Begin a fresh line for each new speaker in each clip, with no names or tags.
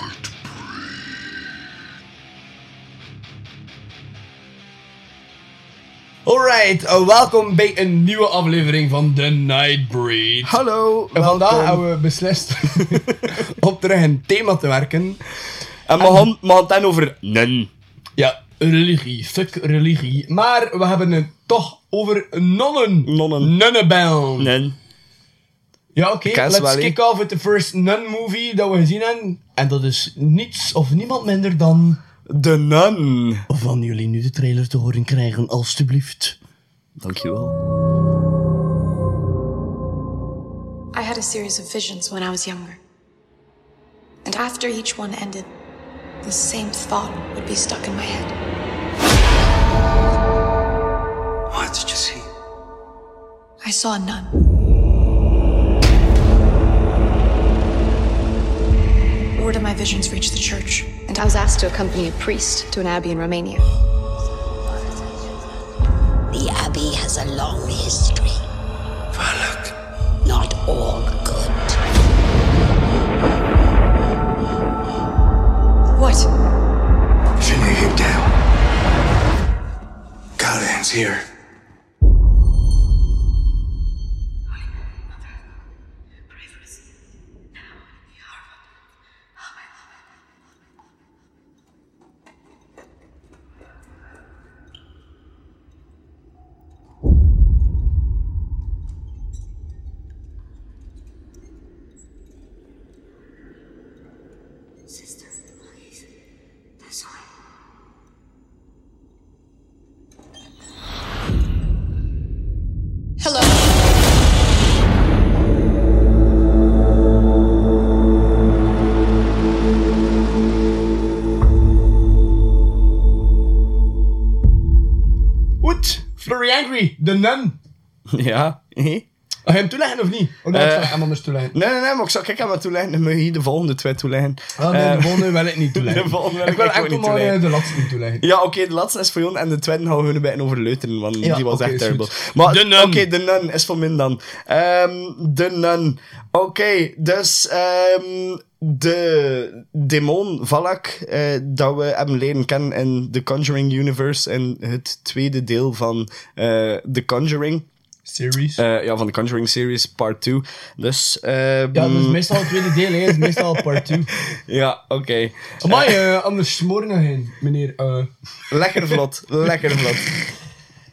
No!
Alright, eh, welkom bij een nieuwe aflevering van The Nightbreed.
Hallo,
En vandaag
welkom.
hebben we beslist om terug een thema te werken.
En mijn hand, mijn hand over nun.
Ja, religie, fuck religie. Maar we hebben het toch over nonnen.
Nonnen.
Nunnenbellen.
Nun.
Ja, oké,
ken ze
let's
wel, hè.
kick off with the first nun movie dat we gezien hebben. En dat is niets of niemand minder dan
De nun.
van jullie nu de trailer te horen krijgen, alstublieft.
Dankjewel.
I had a series of visions when I was younger. And after each one ended, the same thought would be stuck in my head.
What did you see?
I saw a nun. Word of my visions reached the church, and I was asked to accompany a priest to an abbey in Romania.
The Abbey has a long history. Not all good.
What?
Shinigami down. God ends here.
Hello?
Goed, Flurry Angry, de nun.
Ja. hé? Nee,
Ga je hem toeleggen of niet? Of nee, ik
Eh.
zal hem anders toeleggen.
nee, nee, maar ik zal kijken aan mijn toelijn. Dan moet je hier de volgende twee toelijnen.
Ah, nee, de
Eh,
volgende wil ik niet toeleggen.
de volgende wil
ik
ik
wil
ook
enkel
niet
maar eh,
toeleggen.
de laatste niet toeleggen.
Ja, oké, de laatste is voor Jon en de tweede gaan we nu bij over leuteren, want
Ja,
die was
oké,
echt
is
terrible.
goed.
Maar
De Nun.
oké, de nun is van min dan. Ehm, de nun. Oké, dus ehm, de demon Valak eh, dat we hebben leren kennen in The Conjuring Universe in het tweede deel van eh, The Conjuring.
Series.
Eh, ja, van de Conjuring series, part 2. Dus, ehm,
ja, dat is meestal het tweede deel, hè. Dat is meestal part 2.
ja, oké.
Maar anders smoren nog heen, meneer. eh.
Lekker vlot, lekker vlot.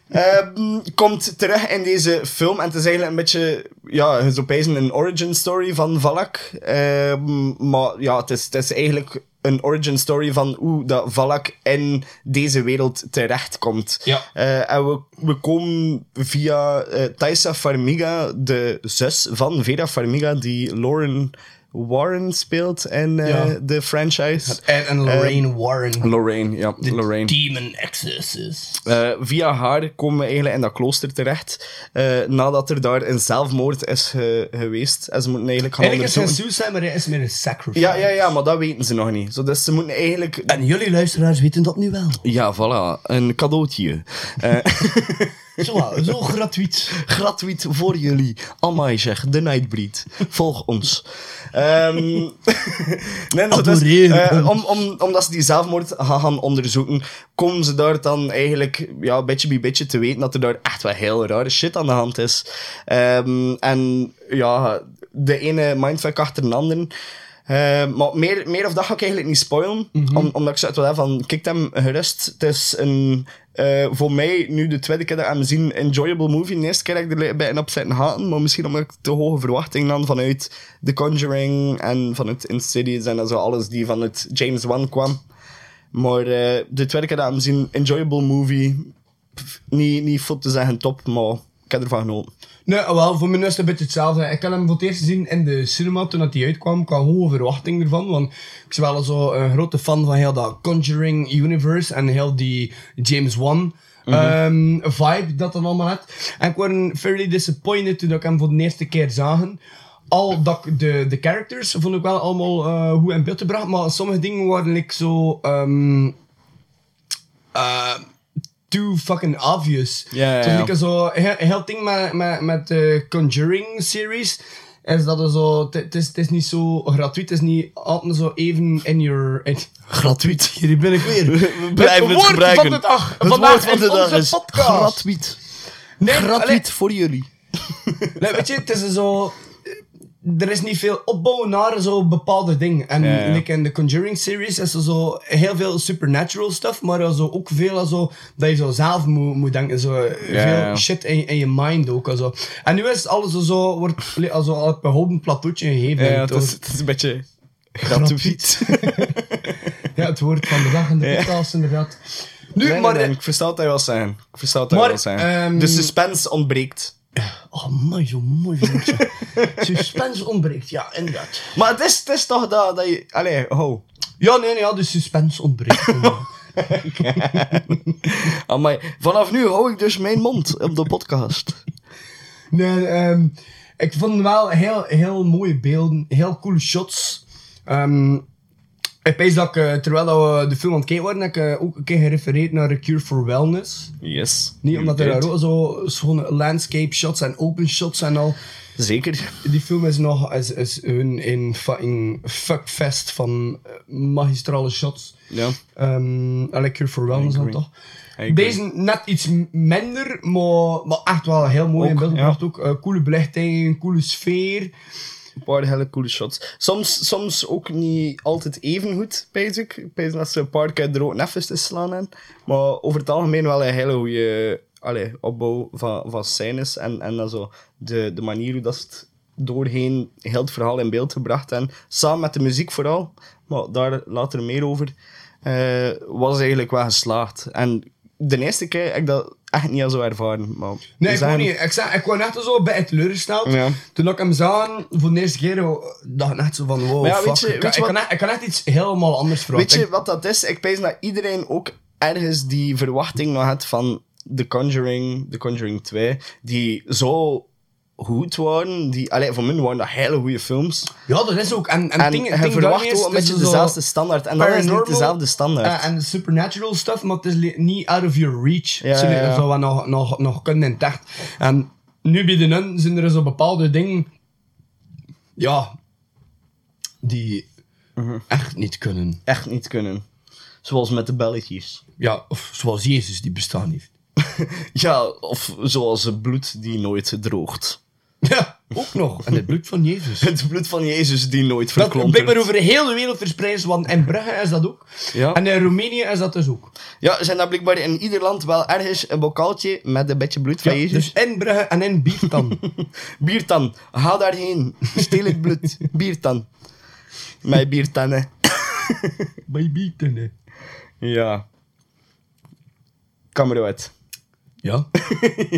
Ehm, komt terug in deze film en het is eigenlijk een beetje, ja, je zou pezen een origin story van Valak. Ehm, maar ja, het is, het is eigenlijk een origin story van hoe dat Valak in deze wereld terechtkomt.
Ja.
Eh, en we, we komen via eh Thaisa Farmiga, de zus van Vera Farmiga, die Lauren Warren speelt in eh,
Ja.
de franchise.
Ed en Lorraine Warren.
Lorraine, ja, Eh, Lorraine.
Demon Exorcist.
Eh, via haar komen we eigenlijk in dat klooster terecht. eh, nadat er daar een zelfmoord is ge- geweest. En ze moeten eigenlijk gaan
Eigenlijk is geen
onderzoeken-
suicide, maar hij is meer een Eh. sacrifice.
Ja, ja, ja, maar dat weten ze nog niet. Zo, dus ze moeten eigenlijk...
En jullie luisteraars weten dat nu wel.
Ja, voilà. Een cadeautje. Eh,
Zo, eh, zo gratuit.
gratuit voor jullie. Amai zeg, de Nightbreed. Volg ons. Ehm nee, zo, dus,
Adoreer
eh,
ons.
om, om, omdat ze die zelfmoord gaan, gaan onderzoeken, komen ze daar dan eigenlijk ja, beetje bij beetje te weten dat er daar echt wel heel rare shit aan de hand is. Ehm, en ja, de ene mindfuck achter de andere. Eh, maar meer, meer of dat ga ik eigenlijk niet spoilen. om- omdat ik zoiets wel heb van, kijk hem gerust. Het is een, eh, voor mij nu de tweede keer dat ik hem zie, enjoyable movie. De eerste keer dat ik er li- bij een op zitten haten. Maar misschien omdat ik te hoge verwachtingen had vanuit The Conjuring en vanuit Insidious en dat zo alles die vanuit James Wan kwam. Maar eh, de tweede keer dat ik hem zie, enjoyable movie. Pff, niet, niet veel te zeggen top, maar ik heb ervan genoten.
Nee, wel, voor mij is het een beetje hetzelfde. Ik had hem voor het eerst gezien in de cinema toen dat hij uitkwam. Ik had hoge verwachting ervan, want ik ben wel zo een grote fan van heel dat Conjuring Universe en heel die James Wan ehm, vibe dat dat allemaal had. En ik word fairly disappointed toen ik hem voor de eerste keer zagen. al dat, ik- de, de characters vond ik wel allemaal eh, goed in beeld gebracht, maar sommige dingen waren ik zo... ehm, eh, too fucking obvious.
Ja, ja,
Het was
ja.
like zo, heel, heel ding met, met, met de Conjuring series is dat er zo, het is, het is niet zo gratuit, het is niet altijd zo even in your... in-
Gratuit.
hier ben ik weer.
We blijven het,
woord
gebruiken.
van de dag.
Het
Vandaag
woord van
in
de dag
onze
is
podcast.
gratuit.
Nee, allee,
Gratuit voor jullie.
Nee, weet je, het is zo. eh, Er is niet veel opbouw naar zo'n bepaalde ding. En
Ja, ja.
like in de Conjuring series is er zo heel veel supernatural stuff, maar er zo ook veel zo, dat je zo zelf moet, moet denken. Zo, eh, veel
ja.
shit in, in je mind ook. en Zo. En nu is alles zo, wordt li- zo op een hoop plateautje gegeven.
Ja,
en
het
toch-
is, het is een beetje gratuit.
ja, het woord van de dag in de
Ja.
podcast, inderdaad. Nu,
Nee, nee,
maar. eh,
nee, ik versta wat hij wel zijn. Ik versta wat hij
Maar,
wel zijn.
ehm,
de suspense ontbreekt.
Oh, mooi zo, mooi zo. Suspense ontbreekt, ja, inderdaad.
Maar het is, het is toch dat, dat je... Allee, ho.
Ja, nee, nee, ja, de suspense ontbreekt. inderdaad.
Amai. Vanaf nu hou ik dus mijn mond op de podcast.
Nee, ehm, ik vond wel heel, heel mooie beelden, heel coole shots. Ehm, ik weet dat ik, eh, terwijl dat we de film aan het kijken waren, heb ik eh, ook een keer gerefereerd naar A Cure for Wellness.
Yes.
Niet omdat er
Indeed.
daar ook zo schone landscape shots en open shots en al.
Zeker.
Die film is nog is, is hun in fucking fuckfest van eh, magistrale shots.
Ja.
Ehm A Cure for Wellness dan
agree.
toch?
agree.
Deze net iets m- minder, maar, maar echt wel heel mooi
Ook,
in beeld
ja.
gebracht ook. Eh, coole belichting, coole sfeer.
Een paar hele coole shots. Soms, soms ook niet altijd even goed, pijs ik. Ik pijs dat ze een paar keer er ook neffens te slaan in. Maar over het algemeen wel een hele goede opbouw van, van scènes. En, en dan zo de, de manier hoe dat ze het doorheen heel het verhaal in beeld gebracht en Samen met de muziek vooral, maar daar later meer over, eh, was eigenlijk wel geslaagd. En de eerste keer heb ik dat echt niet al zo ervaren. Maar
Nee, ik
zijn-
wou niet. Ik, zei, ik wou net zo bij het teleurgesteld.
Ja.
Toen ik hem zag, voor de eerste keer, eh, dacht ik net zo van, wow,
Maar ja,
fuck.
weet je-
ik,
weet je
ik kan
wat-
echt, ik kan echt iets helemaal anders verwachten.
Weet je wat dat is? Ik peins dat iedereen ook ergens die verwachting nog had van The Conjuring, The Conjuring 2, die zo goed waren. Die, allee, voor mij waren dat hele goede films.
Ja, dat is ook. En, en,
En
ding, ding
je
daarmee
verwacht
is,
ook een
het is
beetje
zo
dezelfde standaard. En dat is niet
paranormal,
dezelfde standaard.
eh, En supernatural stuff, maar het is li- niet out of your reach.
Ja,
Zo,
ja, ja.
Zo wat nog, nog, nog kunnen in tacht. En nu bij de nun zijn er zo bepaalde dingen... Ja... Die
Mhm.
echt niet kunnen.
Echt niet kunnen. Zoals met de belletjes.
Ja, of zoals Jezus die bestaan heeft.
Ja, of zoals het bloed die nooit droogt.
Ja, ook nog. En het bloed van Jezus.
Het bloed van Jezus die nooit
Dat
verklompert.
blijkbaar over de hele wereld verspreid is, want in Brugge is dat ook.
Ja.
En in Roemenië is dat dus ook.
Ja, zijn daar blijkbaar in ieder land wel ergens een bokaaltje met een beetje bloed van
Ja,
Jezus.
dus in Brugge en in Biertan.
Biertan, ga daarheen. Steel het bloed. Biertan. Mijn biertannen.
Bij Biertan, hè.
Ja. Kameruit.
Ja.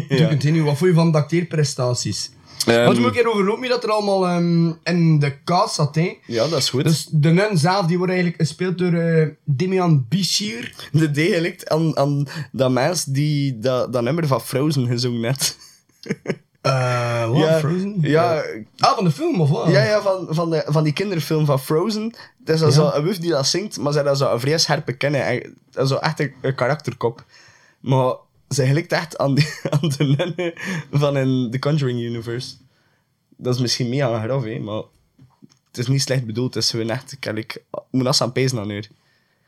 ja. Continu, wat vond je van de acteerprestaties?
Ehm,
Wat moet ik erover lopen dat er allemaal ehm, in de kaas zat, hè?
Ja, dat is goed.
Dus de nun zelf, die wordt eigenlijk gespeeld door eh Demian Bichir.
de D gelijkt aan, aan dat mens die dat, dat nummer van Frozen gezongen net.
Eh wat,
Ja,
Frozen?
ja.
Ah, van de film, of wat?
Ja, ja van, van, de, van die kinderfilm van Frozen. Het is dan zo een wuf die dat zingt, maar zij dat zo een vrees herbekennen. En dat is zo echt een, een karakterkop. Maar ze gelijkt echt aan, die, aan de nunnen van in The Conjuring Universe. Dat is misschien mega grof, hè, maar het is niet slecht bedoeld. Het is gewoon echt, kijk, ik moet dat aan pezen aan haar.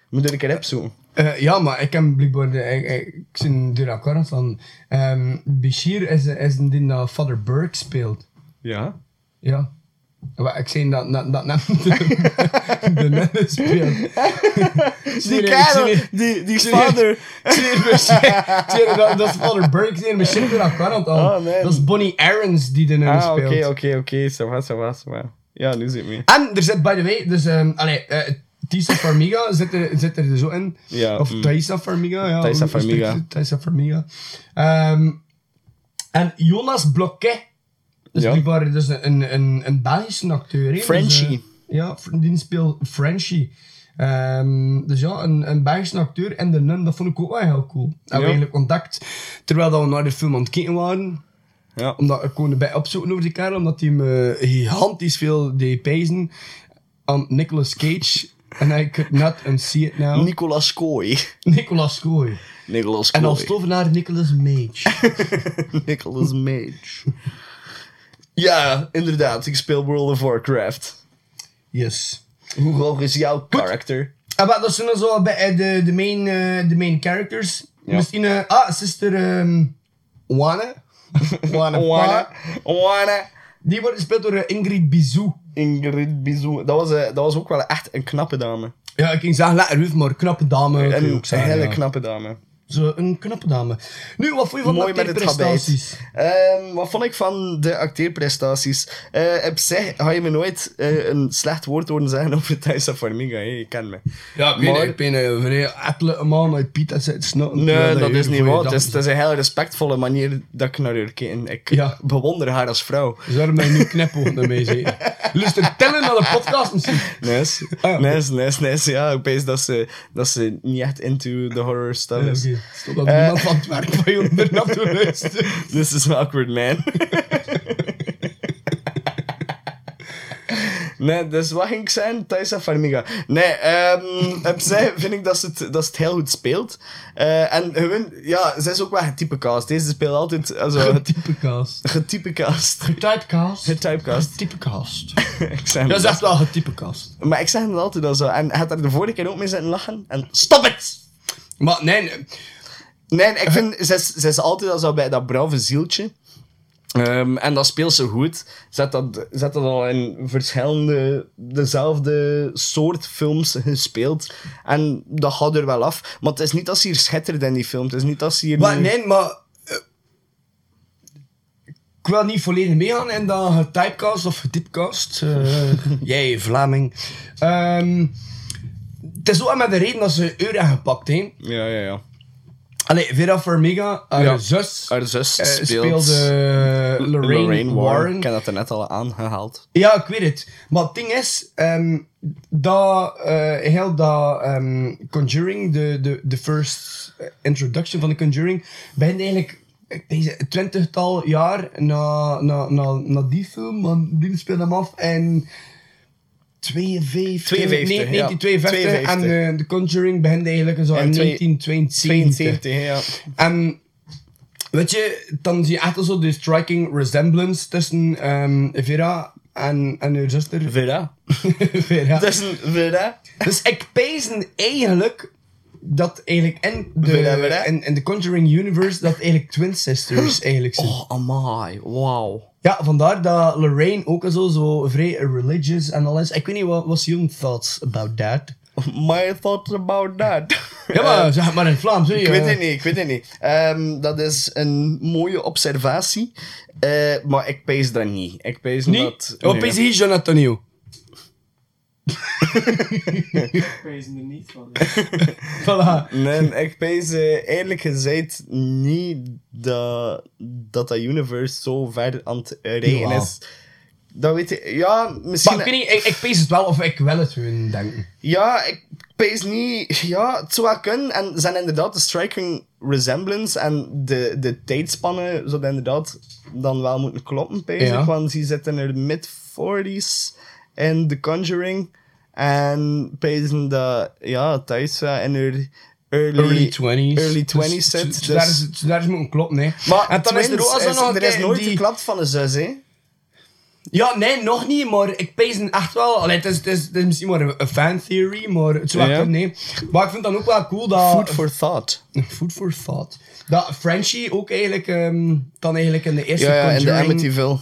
Moet er een keer opzoeken.
Eh, ja, maar ik heb blijkbaar... de- Ik, ik, ik ben er akkoord aan van... ehm Bichir is, is een ding dat Father Burke speelt.
Ja?
Ja. Wat, ik zei dat, dat, dat net de, de nun speelt.
Die kerel, die, die vader.
Tjere, dat, dat is Father Burke die in mijn shit weer akkoord aan het halen.
Ah, man.
Dat is Bonnie Aarons die de nun
Ah,
speelt.
oké, oké, oké. Zo was, zo was. Ja, nu zit mee.
En er zit, by the way, dus... ehm allee, eh Tisa Farmiga zit er, zit er zo in.
Ja,
of
mm.
Thaisa Farmiga. Ja,
Thaisa
hoe- hoe spreekt
Farmiga.
ze? Thaisa Farmiga. Ehm, en Jonas Bloquet. Dus
Ja.
blijkbaar dus een, een, een Belgische acteur. hè. Dus,
Frenchie.
eh, ja, Fr- die speelt Frenchie. Ehm, dus ja, een, een Belgische acteur en de nun, dat vond ik ook wel heel cool. Dat we
Ja.
eigenlijk ontdekt, terwijl dat we naar de film aan het kijken waren.
Ja.
Omdat ik kon erbij opzoeken over die kerel, omdat hij me gigantisch veel deed pijzen aan Nicolas Cage. En I could not unsee it now.
Nicolas Kooi.
Nicolas Kooi.
Nicolas Kooi.
En als tovenaar Nicolas Mage.
Nicolas Mage. ja, inderdaad. Ik speel World of Warcraft.
Yes.
Hoe hoog is jouw karakter?
Ah, maar dat zijn dan zo bij eh, de, de, main, eh, de main characters.
Ja.
Misschien, eh, ah, sister ehm Wane. Wane.
Oana.
Pa.
Oana.
Die wordt gespeeld door eh, Ingrid Bizou.
Ingrid Bizou. Dat was, eh, dat was ook wel echt een knappe dame.
Ja, ik ging zeggen, lekker ruf, maar knappe dame. kun je
Een
ook zeggen,
hele
ja.
knappe dame.
Zo, een knappe dame. Nu, wat vond je van
Mooi
de
met het habit.
prestaties?
Ehm, wat vond ik van de acteerprestaties? Eh op zich had je me nooit eh, een slecht woord horen zeggen over Thaisa Farmiga. Hey, je kent me.
Ja, ik weet
Maar-
niet, ik ben een vrij ettelijke man uit Piet en zit snotten.
Nee,
Ja,
dat
je
is niet
goeie
waar. Het is,
dag.
het is een heel respectvolle manier dat ik naar haar keek. Ik
Ja.
bewonder haar als vrouw.
Dus daarom ben je nu knipoog naar mij zeker. Luister, tellen naar de podcast misschien.
Nice.
Ah, oké.
Nice, nice, nice. Ja, ik weet dat ze, dat ze niet echt into the horror stuff
Ja,
is.
Oké, stop dat niemand van het werk van je onder naar te luisteren.
This is awkward, man. nee, dus wat ging ik zijn? Thaisa Farmiga. Nee, ehm op zij vind ik dat ze het, dat ze het heel goed speelt. Eh, en gewoon, ja, zij is ook wel getypecast. Deze speelt altijd also, het-
Typecast.
getypecast.
Typecast.
Getypecast.
Typecast.
ik zeg
Dat
het
is echt wel getypecast.
Maar ik zeg het altijd al zo. En had daar de vorige keer ook mee zitten lachen. En stop het!
Maar nee, nee,
Nee, ik vind, ze is, ze is altijd al zo bij dat brave zieltje. Ehm, en dat speelt ze goed. Zet dat, zet dat al in verschillende, dezelfde soort films gespeeld. En dat gaat er wel af. Maar het is niet dat ze hier schittert in die film. Het is niet dat ze hier...
maar,
nu-
nee, maar eh, ik wil niet volledig meegaan in dat getypecast of getypecast. eh, jij, Vlaming. Ehm, het is ook met de reden dat ze euro gepakt heeft.
Ja, ja, ja.
Allee, Vera Farmiga, haar
Ja.
zus,
Haar zus
eh,
speelt...
speelde eh, Lorraine, Warren.
Ik heb dat er net al aangehaald.
Ja, ik weet het. Maar het ding is, ehm, dat, eh, heel dat ehm, Conjuring, de, de, de first eh, introduction van de Conjuring, begint eigenlijk ik denk ze- twintigtal jaar na, na, na, na die film, want die speelde hem af en 52,
52,
nee,
ja.
1952 en eh, The Conjuring begint eigenlijk zo in,
In twee-
1972.
72, ja.
En Ehm, weet je, dan zie je echt al zo de striking resemblance tussen ehm, Vera en, en haar zuster.
Vera.
Vera.
Dat
Dus,
is een Vera.
ik pezen eigenlijk dat eigenlijk in de,
Vera, Vera?
In, in de Conjuring Universe dat eigenlijk twin sisters eigenlijk zijn.
Oh, amai. Wauw.
Ja, vandaar dat Lorraine ook al zo, zo vrij religious en alles. Ik weet niet, wat was your thoughts about that?
My thoughts about that. Ehm,
Ja, maar zeg maar in Vlaams, hè, eh.
Ik
ja.
weet het niet, ik weet het niet. Ehm, dat is een mooie observatie, eh, maar ik pees dat niet. Ik pees
Niet?
dat...
Wat
Nee.
is hier, Jonathan Nieuw? Pezen er niet van. voilà.
Nee, ik pees eh, eerlijk gezegd niet dat, dat dat universe zo ver aan het regen
Jawel.
is. Dat weet ik... Ja, misschien...
Maar ik weet niet, ik, ik pees het wel of ik wel het hun denken.
Ja, ik pees niet. Ja, het zou wel kunnen. En ze zijn inderdaad de striking resemblance en de, de tijdspannen zouden inderdaad dan wel moeten kloppen, pees
Ja.
ik. Want die zitten er mid-40s in The Conjuring. En pezen dat, ja, thuis wel in haar early,
Early 20s.
Early 20s
Dus-
zit.
dus
Dus,
Daar is, dus daar is moeten kloppen, hè.
maar
en dan is er
twins
ook als dan nog
er is
een
nooit
die-
geklapt van de zus, hè?
Ja, nee, nog niet, maar ik pees het echt wel. Allee, het, is, het, is, het is misschien maar een- een fan theory, maar het is wel
Ja.
kunnen, nee. Maar ik vind dan ook wel cool dat...
Food for thought.
Food for thought. Dat Frenchie ook eigenlijk, ehm, dan eigenlijk in de eerste
Ja, ja, in de
Conjuring...
Amityville.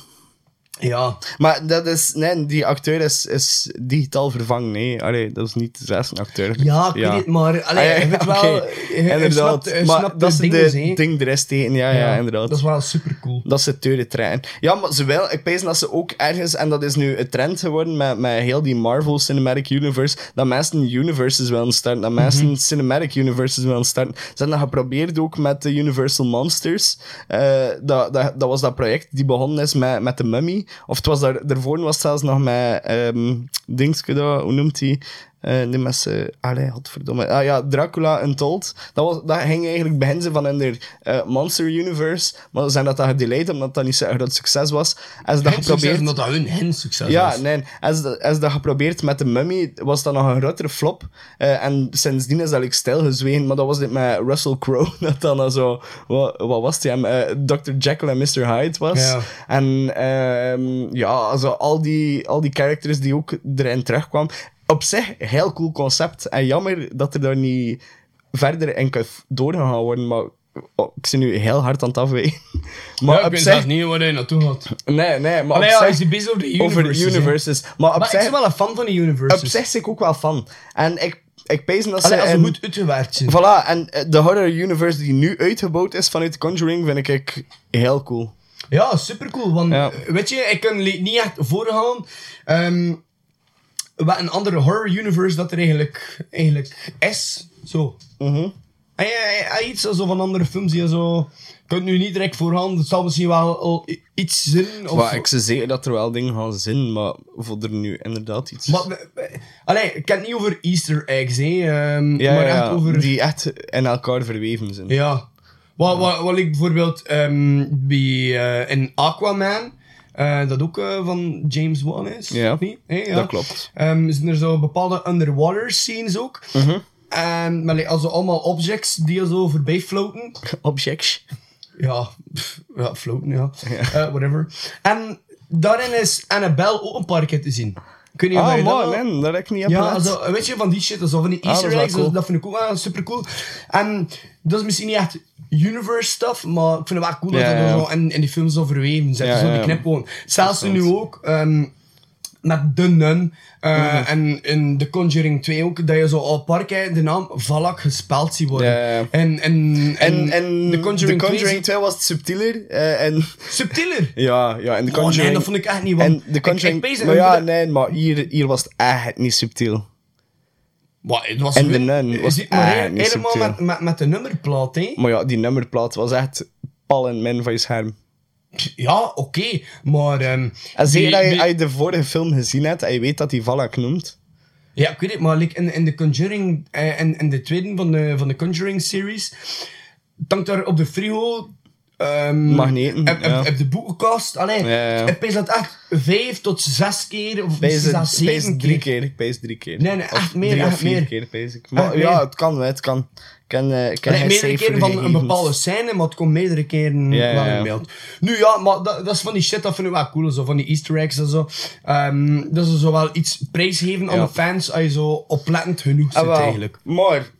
Ja,
Maar dat is, nee, die acteur is, is digitaal vervangen. Nee, allee, dat is niet dezelfde acteur.
Ja, ik weet het, maar allee,
Ah, ja,
je weet wel,
oké.
je- je
Inderdaad.
snapt- je
maar
snapt
dat
de
ze
dingen,
de
hè.
ding de rest tegen. Ja, ja, inderdaad.
Dat is wel super cool.
Dat ze teuren trein. Ja, maar ze wel, ik pees dat ze ook ergens, en dat is nu een trend geworden met, met heel die Marvel Cinematic Universe, dat mensen universes willen starten, dat mensen Cinematic Universes willen starten. Ze hebben dat geprobeerd ook met de Universal Monsters. Eh, dat, dat, dat was dat project die begonnen is met, met de Mummy. Of het was daar, daarvoor was het zelfs nog met ehm Dingske, dat, hoe noemt die? Eh, Eh, nee, met z'n... Allee, godverdomme. Ah ja, Dracula Untold. Dat, was, dat ging eigenlijk beginnen van in de eh, Monster Universe. Maar ze zijn dat dan gedelayed, omdat dat niet zo'n groot succes was. En ze dat
Het succes,
geprobeerd...
omdat dat hun, hen succes
Ja,
was.
nee. Als dat, als dat geprobeerd met de mummy, was dat nog een grotere flop. Eh, en sindsdien is dat like, stilgezwegen. Maar dat was dit met Russell Crowe, dat dan al zo... Wat, wat was die hem? Eh, Dr. Jekyll en Mr. Hyde was.
Ja.
En ehm, ja, zo al die, al die characters die ook erin terugkwamen. Op zich, heel cool concept. En jammer dat er daar niet verder in kan doorgegaan worden, maar... oh, ik zie nu heel hard aan het afwegen. Maar
Ja, ik
op
weet
zich...
zelfs niet waar hij naartoe gaat.
Nee, nee,
Allee,
maar op
ja,
zich...
hij is bezig over de universes.
Over de
hè.
universes. Maar op
Maar ik
zich...
ben wel een fan van de universes.
Op zich ben ik ook wel van. En ik, ik pees dat ze...
Allee, als ze
in-
goed uitgewerkt zijn.
Voilà, en eh, de horror universe die nu uitgebouwd is vanuit The Conjuring vind ik heel cool.
Ja, supercool. Want
Ja.
eh, weet je, ik kan li- niet echt voorgaan. ehm, wat een andere horror universe dat er eigenlijk, eigenlijk is. Zo.
Mhm.
Hij hij- hij iets zo van andere films die je zo. Je kunt nu niet direct voorhand. Het zal misschien wel al i- iets zijn. Of,
Maar ik zie zeker dat er wel dingen gaan zijn, maar voor er nu inderdaad iets...
Maar we- we- allee, ik ken het niet over Easter eggs, hè, ehm,
ja,
maar echt
ja, ja,
over.
die echt in elkaar verweven zijn.
Ja. Wat, wat, wat ik bijvoorbeeld ehm, bij, eh, in Aquaman, eh, dat ook eh, van James Wan is,
Ja,
of niet? Hé, ja.
dat klopt.
Ehm, zijn er zo bepaalde underwater scenes ook.
Mhm.
En maar like, also allemaal objects die er zo voorbij floten.
Objects.
Ja, pff, ja floten, ja. Eh, whatever. En daarin is Annabelle ook een paar keer te zien. Ik weet niet of
Ah,
je dat
man,
wel-
man, dat heb ik niet op
ja,
gelet.
also, weet je, van die shit, also, van die
Ah, dat is
easter
wel
eggs, dat,
cool.
dat vind ik ook wel super cool. En dat is misschien niet echt universe stuff, maar ik vind het wel cool
Ja,
dat
ja.
dat er zo in, in die films zo verweven zit.
Ja,
zo
ja,
die
ja.
knip gewoon. Zelfs nu ook ehm, met The Nun eh, en in The Conjuring 2 ook, dat je zo al een paar keer de naam Valak gespeld ziet worden.
Ja, ja, ja.
En, en,
En, en
The Conjuring, 2 is
2 was het subtieler. eh, en,
subtieler.
ja, ja, en The
Oh,
Conjuring...
nee, dat vond ik echt niet, want
en The Conjuring...
ik, ik,
maar ja, nee, maar hier, hier was het echt niet subtiel. En de nun was
maar
eigenlijk niet
helemaal
subtiel.
met, met, met de nummerplaat, hè.
Maar ja, die nummerplaat was echt pal en min van je scherm.
Ja, oké, maar... ehm,
En zeker
die-
dat je, ah,
die-
als je de vorige film gezien hebt en je weet dat hij Valak noemt.
Ja, ik weet het, maar like, in, in de Conjuring... eh, in, in de tweede van de, van de Conjuring-series... Tankt daar op de frigo... ehm
Mag niet eten,
Heb, heb-
ja.
heb de boekenkast. Allee,
Ja, ja, ja.
ik pees dat echt vijf tot zes keer, of
Bij
misschien zelfs zeven
drie
keer.
keer. Ik pees drie keer.
Nee, nee,
Of
echt meer,
Drie of
echt
vier
meer.
keer, pees ik. Maar
Echt
ja,
meer.
het kan, hè, het kan. Ik ken, eh, ik ken
Nee,
geen
meerdere
cijfer
keren van een
gegevens.
bepaalde scène, maar het komt meerdere keren
Ja, ja,
wel
ja.
in beeld. Nu ja, maar dat, dat is van die shit, dat vind ik wel cool, zo, van die easter eggs en zo. Ehm, dat ze zo wel iets prijsgeven aan
Ja.
de fans als je zo oplettend genoeg
Ah,
zit
wel.
eigenlijk.
Maar,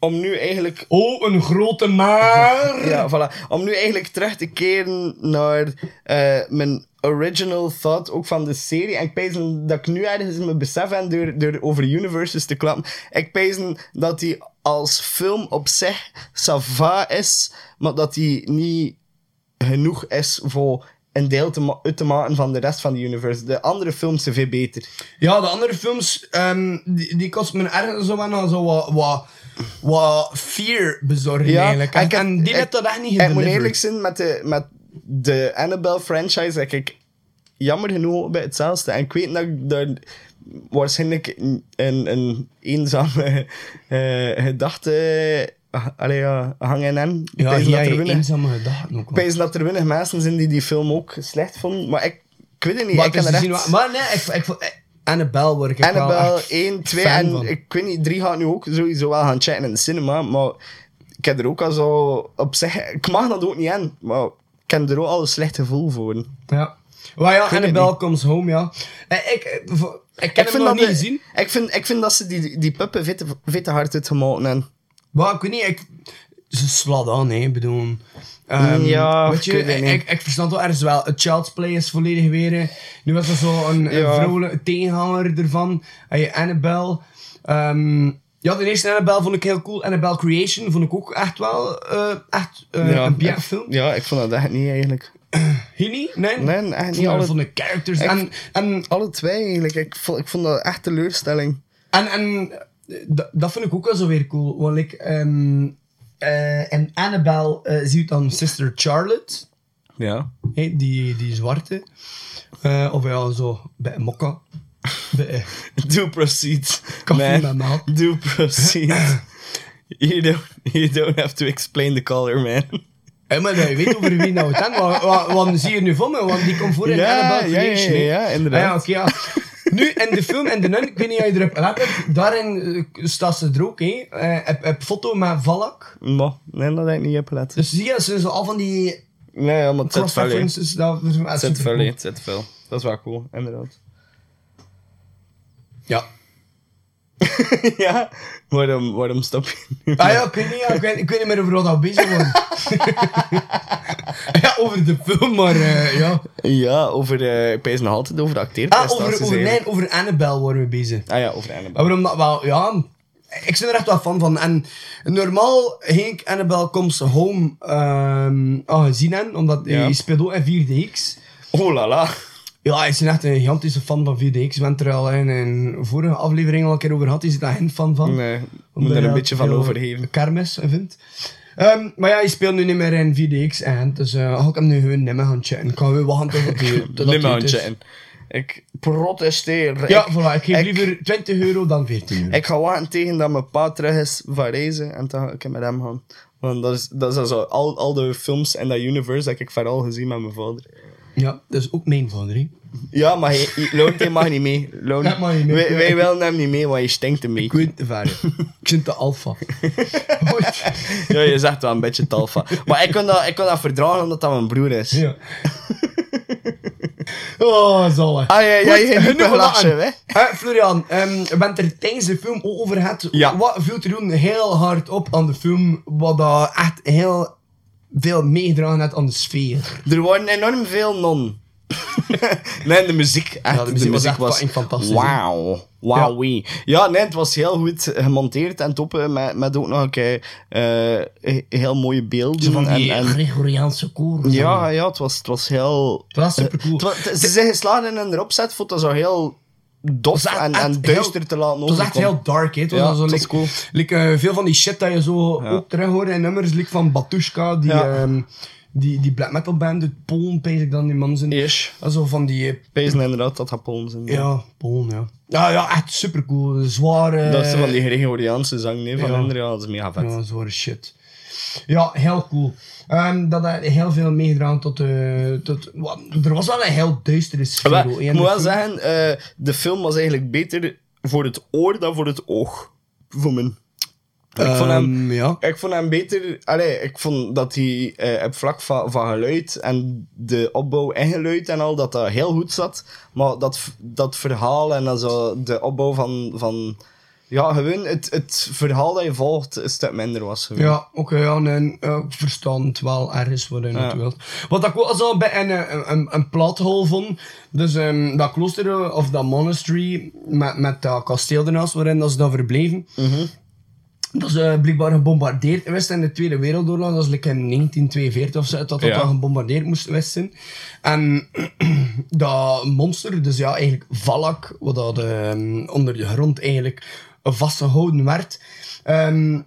om nu eigenlijk...
Oh, een grote maar!
Ja, voilà. Om nu eigenlijk terug te keren naar eh, mijn original thought, ook van de serie. En ik pees dat ik nu ergens in mijn besef heb door, door over universes te klappen. Ik pees dat die als film op zich sava is, maar dat die niet genoeg is voor een deel te ma- uit te maken van de rest van de universe. De andere films zijn veel beter.
Ja, de andere films, ehm, die, die kost me ergens zo wel nog zo wat, wat, wat fear bezorgen eigenlijk. En,
ik heb-
en die
ik-
heeft dat echt niet
Ik moet
gedeliverd.
eerlijk zijn, met de, met de Annabelle franchise heb ik jammer genoeg bij hetzelfde. En ik weet dat ik daar waarschijnlijk een, een, een eenzame eh, gedachte... ah, Allee, ja, hang in hem. Ik
Ja,
pees
hier
dat
heb
er
je
weinig-
eenzame gedachten ook
ik
wel.
pees dat er weinig mensen zijn die die film ook slecht vonden. Maar ik, ik weet het niet.
Maar
ik
het is
heb er
te zien
echt-
wat- Maar nee, ik, ik, vond- eh, Annabelle word ik echt wel
Annabelle
echt
1, 2
fan
en
van.
ik weet niet, 3 gaat nu ook sowieso wel gaan checken in de cinema, maar ik heb er ook al zo op zich, ik mag dat ook niet aan, maar ik heb er ook al een slecht gevoel voor.
Ja. Maar ja,
het
Annabelle
niet.
Comes Home, ja. Eh, Ik, eh, vo- ik heb hem nog niet
de-
gezien.
Ik vind, ik vind dat ze die, die puppen vette, vette hard uitgemaakt hebben.
Maar ik weet niet, ik, ze slaat aan, hè, ik bedoel. Ehm,
Ja,
weet je,
ik weet het
ik,
niet.
ik, verstand wel ergens wel. Het Child's Play is volledig weer. eh, Nu was er zo een, een
Ja.
vrolijke tegenhanger ervan. Hey, Annabelle. Ehm, ja, de eerste Annabelle vond ik heel cool. Annabelle Creation vond ik ook echt wel eh, echt, eh, een
ik-
bien film.
Ja, ik vond dat echt niet eigenlijk.
Hier niet? Nee,
Nee, echt niet.
Ja,
Alle,
van de characters.
Ik-
En, en
alle twee eigenlijk. Ik vond, ik vond dat echt teleurstelling.
En, en eh, dat, dat vind ik ook wel zo weer cool. Want ik, ehm eh in Annabelle eh, zie je dan Sister Charlotte,
Ja.
hè, die, die zwarte. Eh, of ja, zo bij mokka. Nee.
Do proceed.
Koffie
man.
met melk.
Do proceed. you, don't, you don't have to explain the color, man.
Hé, maar dat je weet over wie nou het gaat. Wat, wat, wat zie je nu voor me? Want die komt voor in
Ja,
Annabelle
ja, ja,
Creation. hè.
ja, inderdaad.
Ah, ja, oké, ja. Nu, in de film en de Nun, ik weet niet of je erop gelet hebt, daarin eh, staat ze er ook, hè. Eh, Heb heb foto met Valak.
Mo, nee, dat heb ik niet opgelet.
Dus zie je, ze zijn zo al van die
Nee, ja, maar het zit veel in.
cross-references. dat- dat is
Het zit
supercool.
veel in, het zit veel. Dat is wel cool, inderdaad.
Ja.
ja, waarom, waarom stop je nu?
Ah ja, ik weet niet, ja, ik, weet, ik weet niet meer over wat dat bezig was. ja, over de film, maar eh, ja.
Ja, over, eh ik pees nog altijd over de
Ah,
acteerprestaties.
over, over,
eigenlijk.
nee, over Annabelle waren we bezig.
Ah ja, over Annabelle.
Maar waarom dat wel, ja. Ik ben er echt wel fan van. En normaal ging ik Annabelle Comes Home ehm al gezien hebben, omdat
Ja.
hij speelt ook in 4DX.
Oh la la.
Ja, ik ben echt een gigantische fan van 4DX. We hebben het er al in een vorige aflevering al een keer over gehad. Is het daar geen fan van?
Nee, ik moet
Omdat
er
je
een
dat
beetje van
veel
overgeven.
Kermis vindt. Ehm, maar ja, je speelt nu niet meer in 4DX en dus eh ga ik hem nu gewoon nimmer gaan chatten. Ik ga weer wachten tot hij tot dat hij het is.
Limmerhandje in. Ik protesteer.
Ja,
ik,
voilà. Ik geef
ik-
liever 20 euro dan 14 euro.
Ik ga wachten tegen dat mijn pa terug is van reizen en dan ga ik met hem gaan. Want dat is, dat is zo, al, al de films en dat universe heb ik vooral gezien met mijn vader.
Ja, dat is ook mijn vader, hè.
Ja, maar hij- hij- Loon, die mag niet mee. Loon,
Dat mag niet mee.
Wij, wij willen hem niet mee, want je stinkt ermee.
Ik weet te ver. ik vind de alfa. Goed.
Ja, je zegt wel een beetje talfa. Maar ik kan dat, ik kan dat verdragen omdat dat mijn broer is.
Ja. Oh, zalig.
Ah, ja, ja,
Goed,
je hebt
genoeg
een lachje,
gelachen.
hè?
Eh, Florian, ehm, je bent er tijdens de film ook over gehad.
Ja.
Wat viel te doen heel hard op aan de film, wat dat echt heel veel meegedragen heeft aan de sfeer.
Er worden enorm veel non. nee, de muziek. Echt,
Ja, de muziek was echt fucking fantastisch, hè?
Wauw. Wauwie. Ja. nee, het was heel goed gemonteerd en top. eh, Met, met ook nog een keer eh, he- heel mooie beelden. Mm, en, en-
Gregoriaanse koor.
ja, ja, het was, het was heel...
Dat was supercool.
Het wa- het- Eh, ze zijn geslaagd in hun opzetfoto zo heel dof
Het was
en,
echt-
en
echt
duister
heel-
te laten
Het was echt
overkomen.
heel dark, hè. Het was
Ja,
al zo
het was
like-
cool.
like, eh, veel van die shit dat je zo ook terug hoort in nummers, like van Batushka, die,
Ja.
ehm, die, die black metal band uit Polen, pees ik dan die man zijn.
Yes.
Dat is Zo van die... eh,
Pezen inderdaad dat dat Polen zijn.
ja, Polen, ja. Ja, ja, echt supercool. Zware...
Dat is van die Gregoriaanse zang, nee, van
ja.
André, ja, dat is mega vet.
Ja, zware shit. Ja, heel cool. Ehm, dat heeft heel veel meegedragen tot... eh tot wat- er was wel een heel duistere sfeer.
Maar
hoor, hè, in
ik
de
moet wel
film.
zeggen, eh, de film was eigenlijk beter voor het oor dan voor het oog. Voor mijn... ik, vond hem,
Ehm, ja.
ik vond hem beter... Allee, ik vond dat hij eh op vlak van, van geluid en de opbouw en geluid en al, dat dat heel goed zat. Maar dat, v- dat verhaal en dan zo, de opbouw van... van ja, gewoon het, het verhaal dat je volgt een stuk minder was. gewoon.
Ja, oké, ja, nee, eh, ik verstaan het wel ergens waarin het wilt. Wat ik ook zo bij een, een, een, een plathol vond, dus ehm, dat klooster eh, of dat monastery met, met dat kasteel ernaast waarin dat ze dan verbleven, dat is eh, blijkbaar gebombardeerd geweest in de Tweede Wereldoorlog, dat is like in 1942 of zo, dat dat
Ja.
dan gebombardeerd moest geweest zijn. En dat monster, dus ja, eigenlijk Valak, wat dat ehm, onder de grond eigenlijk vastgehouden werd, ehm,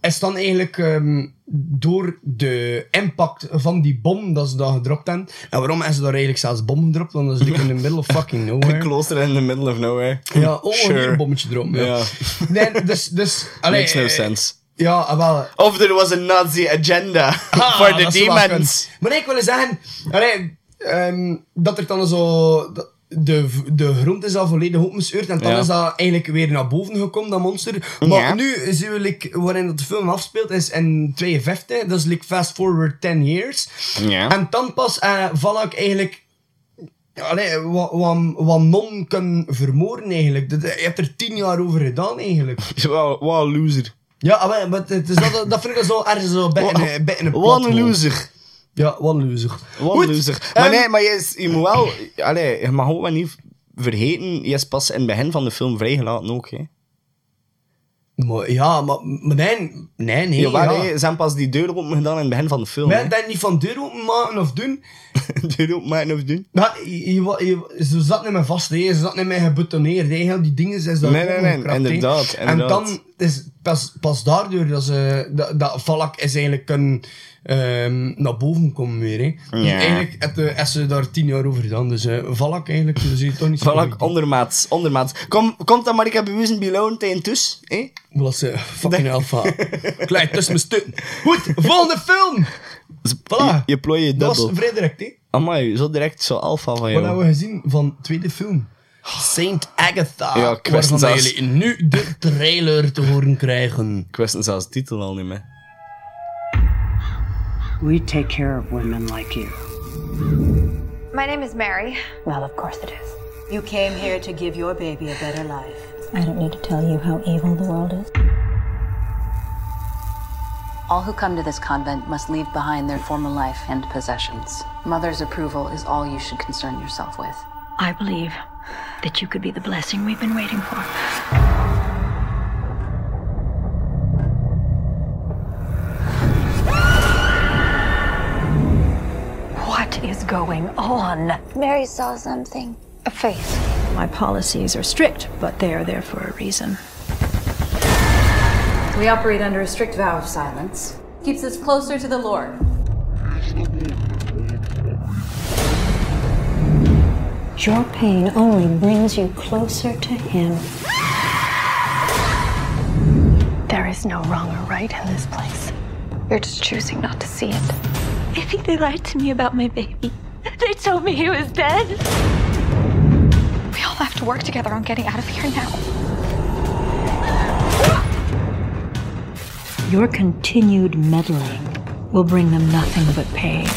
is dan eigenlijk ehm, door de impact van die bom dat ze daar gedropt hebben. En waarom hebben ze daar eigenlijk zelfs bom gedropt? Want dat is natuurlijk in the middle of fucking
Een
nowhere.
klooster in the middle of nowhere.
Ja, oh, hier
Sure.
een bommetje erop. Ja.
Ja.
Nee, dus... dus allee,
Makes no
eh,
sense.
Ja, ah, wel...
Of er was een Nazi agenda voor
Ah,
de
dat zou wel
demons.
kunnen. Maar nee, ik wil zeggen, allee, ehm, dat er dan zo. dat- De, v- de grond is al volledig opengescheurd en dan
Ja.
is dat eigenlijk weer naar boven gekomen, dat monster. Maar
Ja.
nu zien we like, waarin dat de film afspeelt is in 52, dat is like, fast forward 10 years.
Ja.
En dan pas eh, val ik eigenlijk Allee, wat, wat, wat non kan vermoorden eigenlijk. Dat- eh, Je hebt er 10 jaar over gedaan eigenlijk.
Wat wat een loser.
Ja, allee, maar het is dat, dat vind ik zo ergens zo bij een, bij een
Wat een
plothole.
loser.
Ja, wat een loser.
Wat
Goed,
een loser. Maar
ehm,
nee, maar je, is, je moet wel... Allee, je mag ook wel niet vergeten, je is pas in het begin van de film vrijgelaten ook, hè.
maar- ja, maar, maar nee, nee, nee.
Jawel,
ja.
hè, ze hebben pas die deur open gedaan in het begin van de film.
Wij
hè.
dat niet van deur openmaken of doen.
deur openmaken of doen.
Maar je, je, je- ze zat niet meer vast, hè. ze zat niet meer gebetoneerd. Hè. Heel die dingen zijn zo
Nee, nee, nee,
opengekrapt, hè.
inderdaad,
En
inderdaad.
dan is het pas, pas daardoor dat ze... Dat, dat Valak is eigenlijk een... ehm, naar boven komen weer, hè. Dus
Ja.
eigenlijk hebben ze daar tien jaar over gedaan. Dus eh, Valak eigenlijk, dus je toch niet zo goed
Valak,
doen.
ondermaats, ondermaats. Kom, komt dan maar, ik heb bewezen beloond tegen Tus. Eh?
Omdat ze fucking alfa. Klein tussen mijn stukken. Goed, volgende film! Voilà.
Je plooi je
Dat was
dubbel.
vrij direct, hè.
Amai, zo direct zo alfa van
Wat hebben
jou.
we gezien van tweede film? Saint Agatha.
Ja, ik wist
waarvan
het
dat
zelfs.
jullie nu de trailer te horen krijgen.
Ik wist hem zelfs de titel al niet meer.
We take care of women like you.
My name is Mary.
Well, of course it is.
You came here to give your baby a better life.
I don't need to tell you how evil the world is. All who come to this convent must leave behind their former life and possessions. Mother's approval is all you should concern yourself with.
I believe that you could be the blessing we've been waiting for. What is going on?
Mary saw something.
A face. My policies are strict, but they are there for a reason.
We operate under a strict vow of silence. Keeps us closer to the Lord.
Your pain only brings you closer to him.
There is no wrong or right in this place. You're just choosing not to see it. I think they lied to me about my baby. They told me he was dead. We all have to work together on getting out of here now.
Your continued meddling will bring them nothing but pain.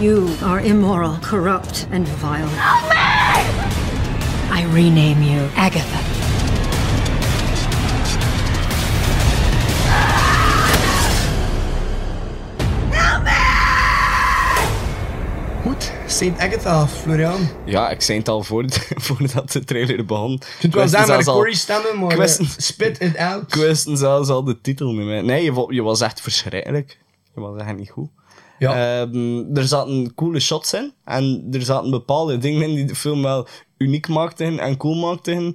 You are immoral, corrupt, and vile. I rename you Agatha.
Goed, Saint Agatha, Florian. Ik
Ja, ik zei het al voor, voordat de trailer begon. Ik
kunt wel
wist
zijn met
zelfs al-
Corey stemmen, maar
ik
eh,
wist-
spit it out.
Ik wist zelfs al de titel niet meer. Nee, je, vo- je was echt verschrikkelijk. Je was echt niet goed.
ja.
Ehm, er zaten coole shots in. En er zaten bepaalde dingen in die de film wel uniek maakten en cool maakten.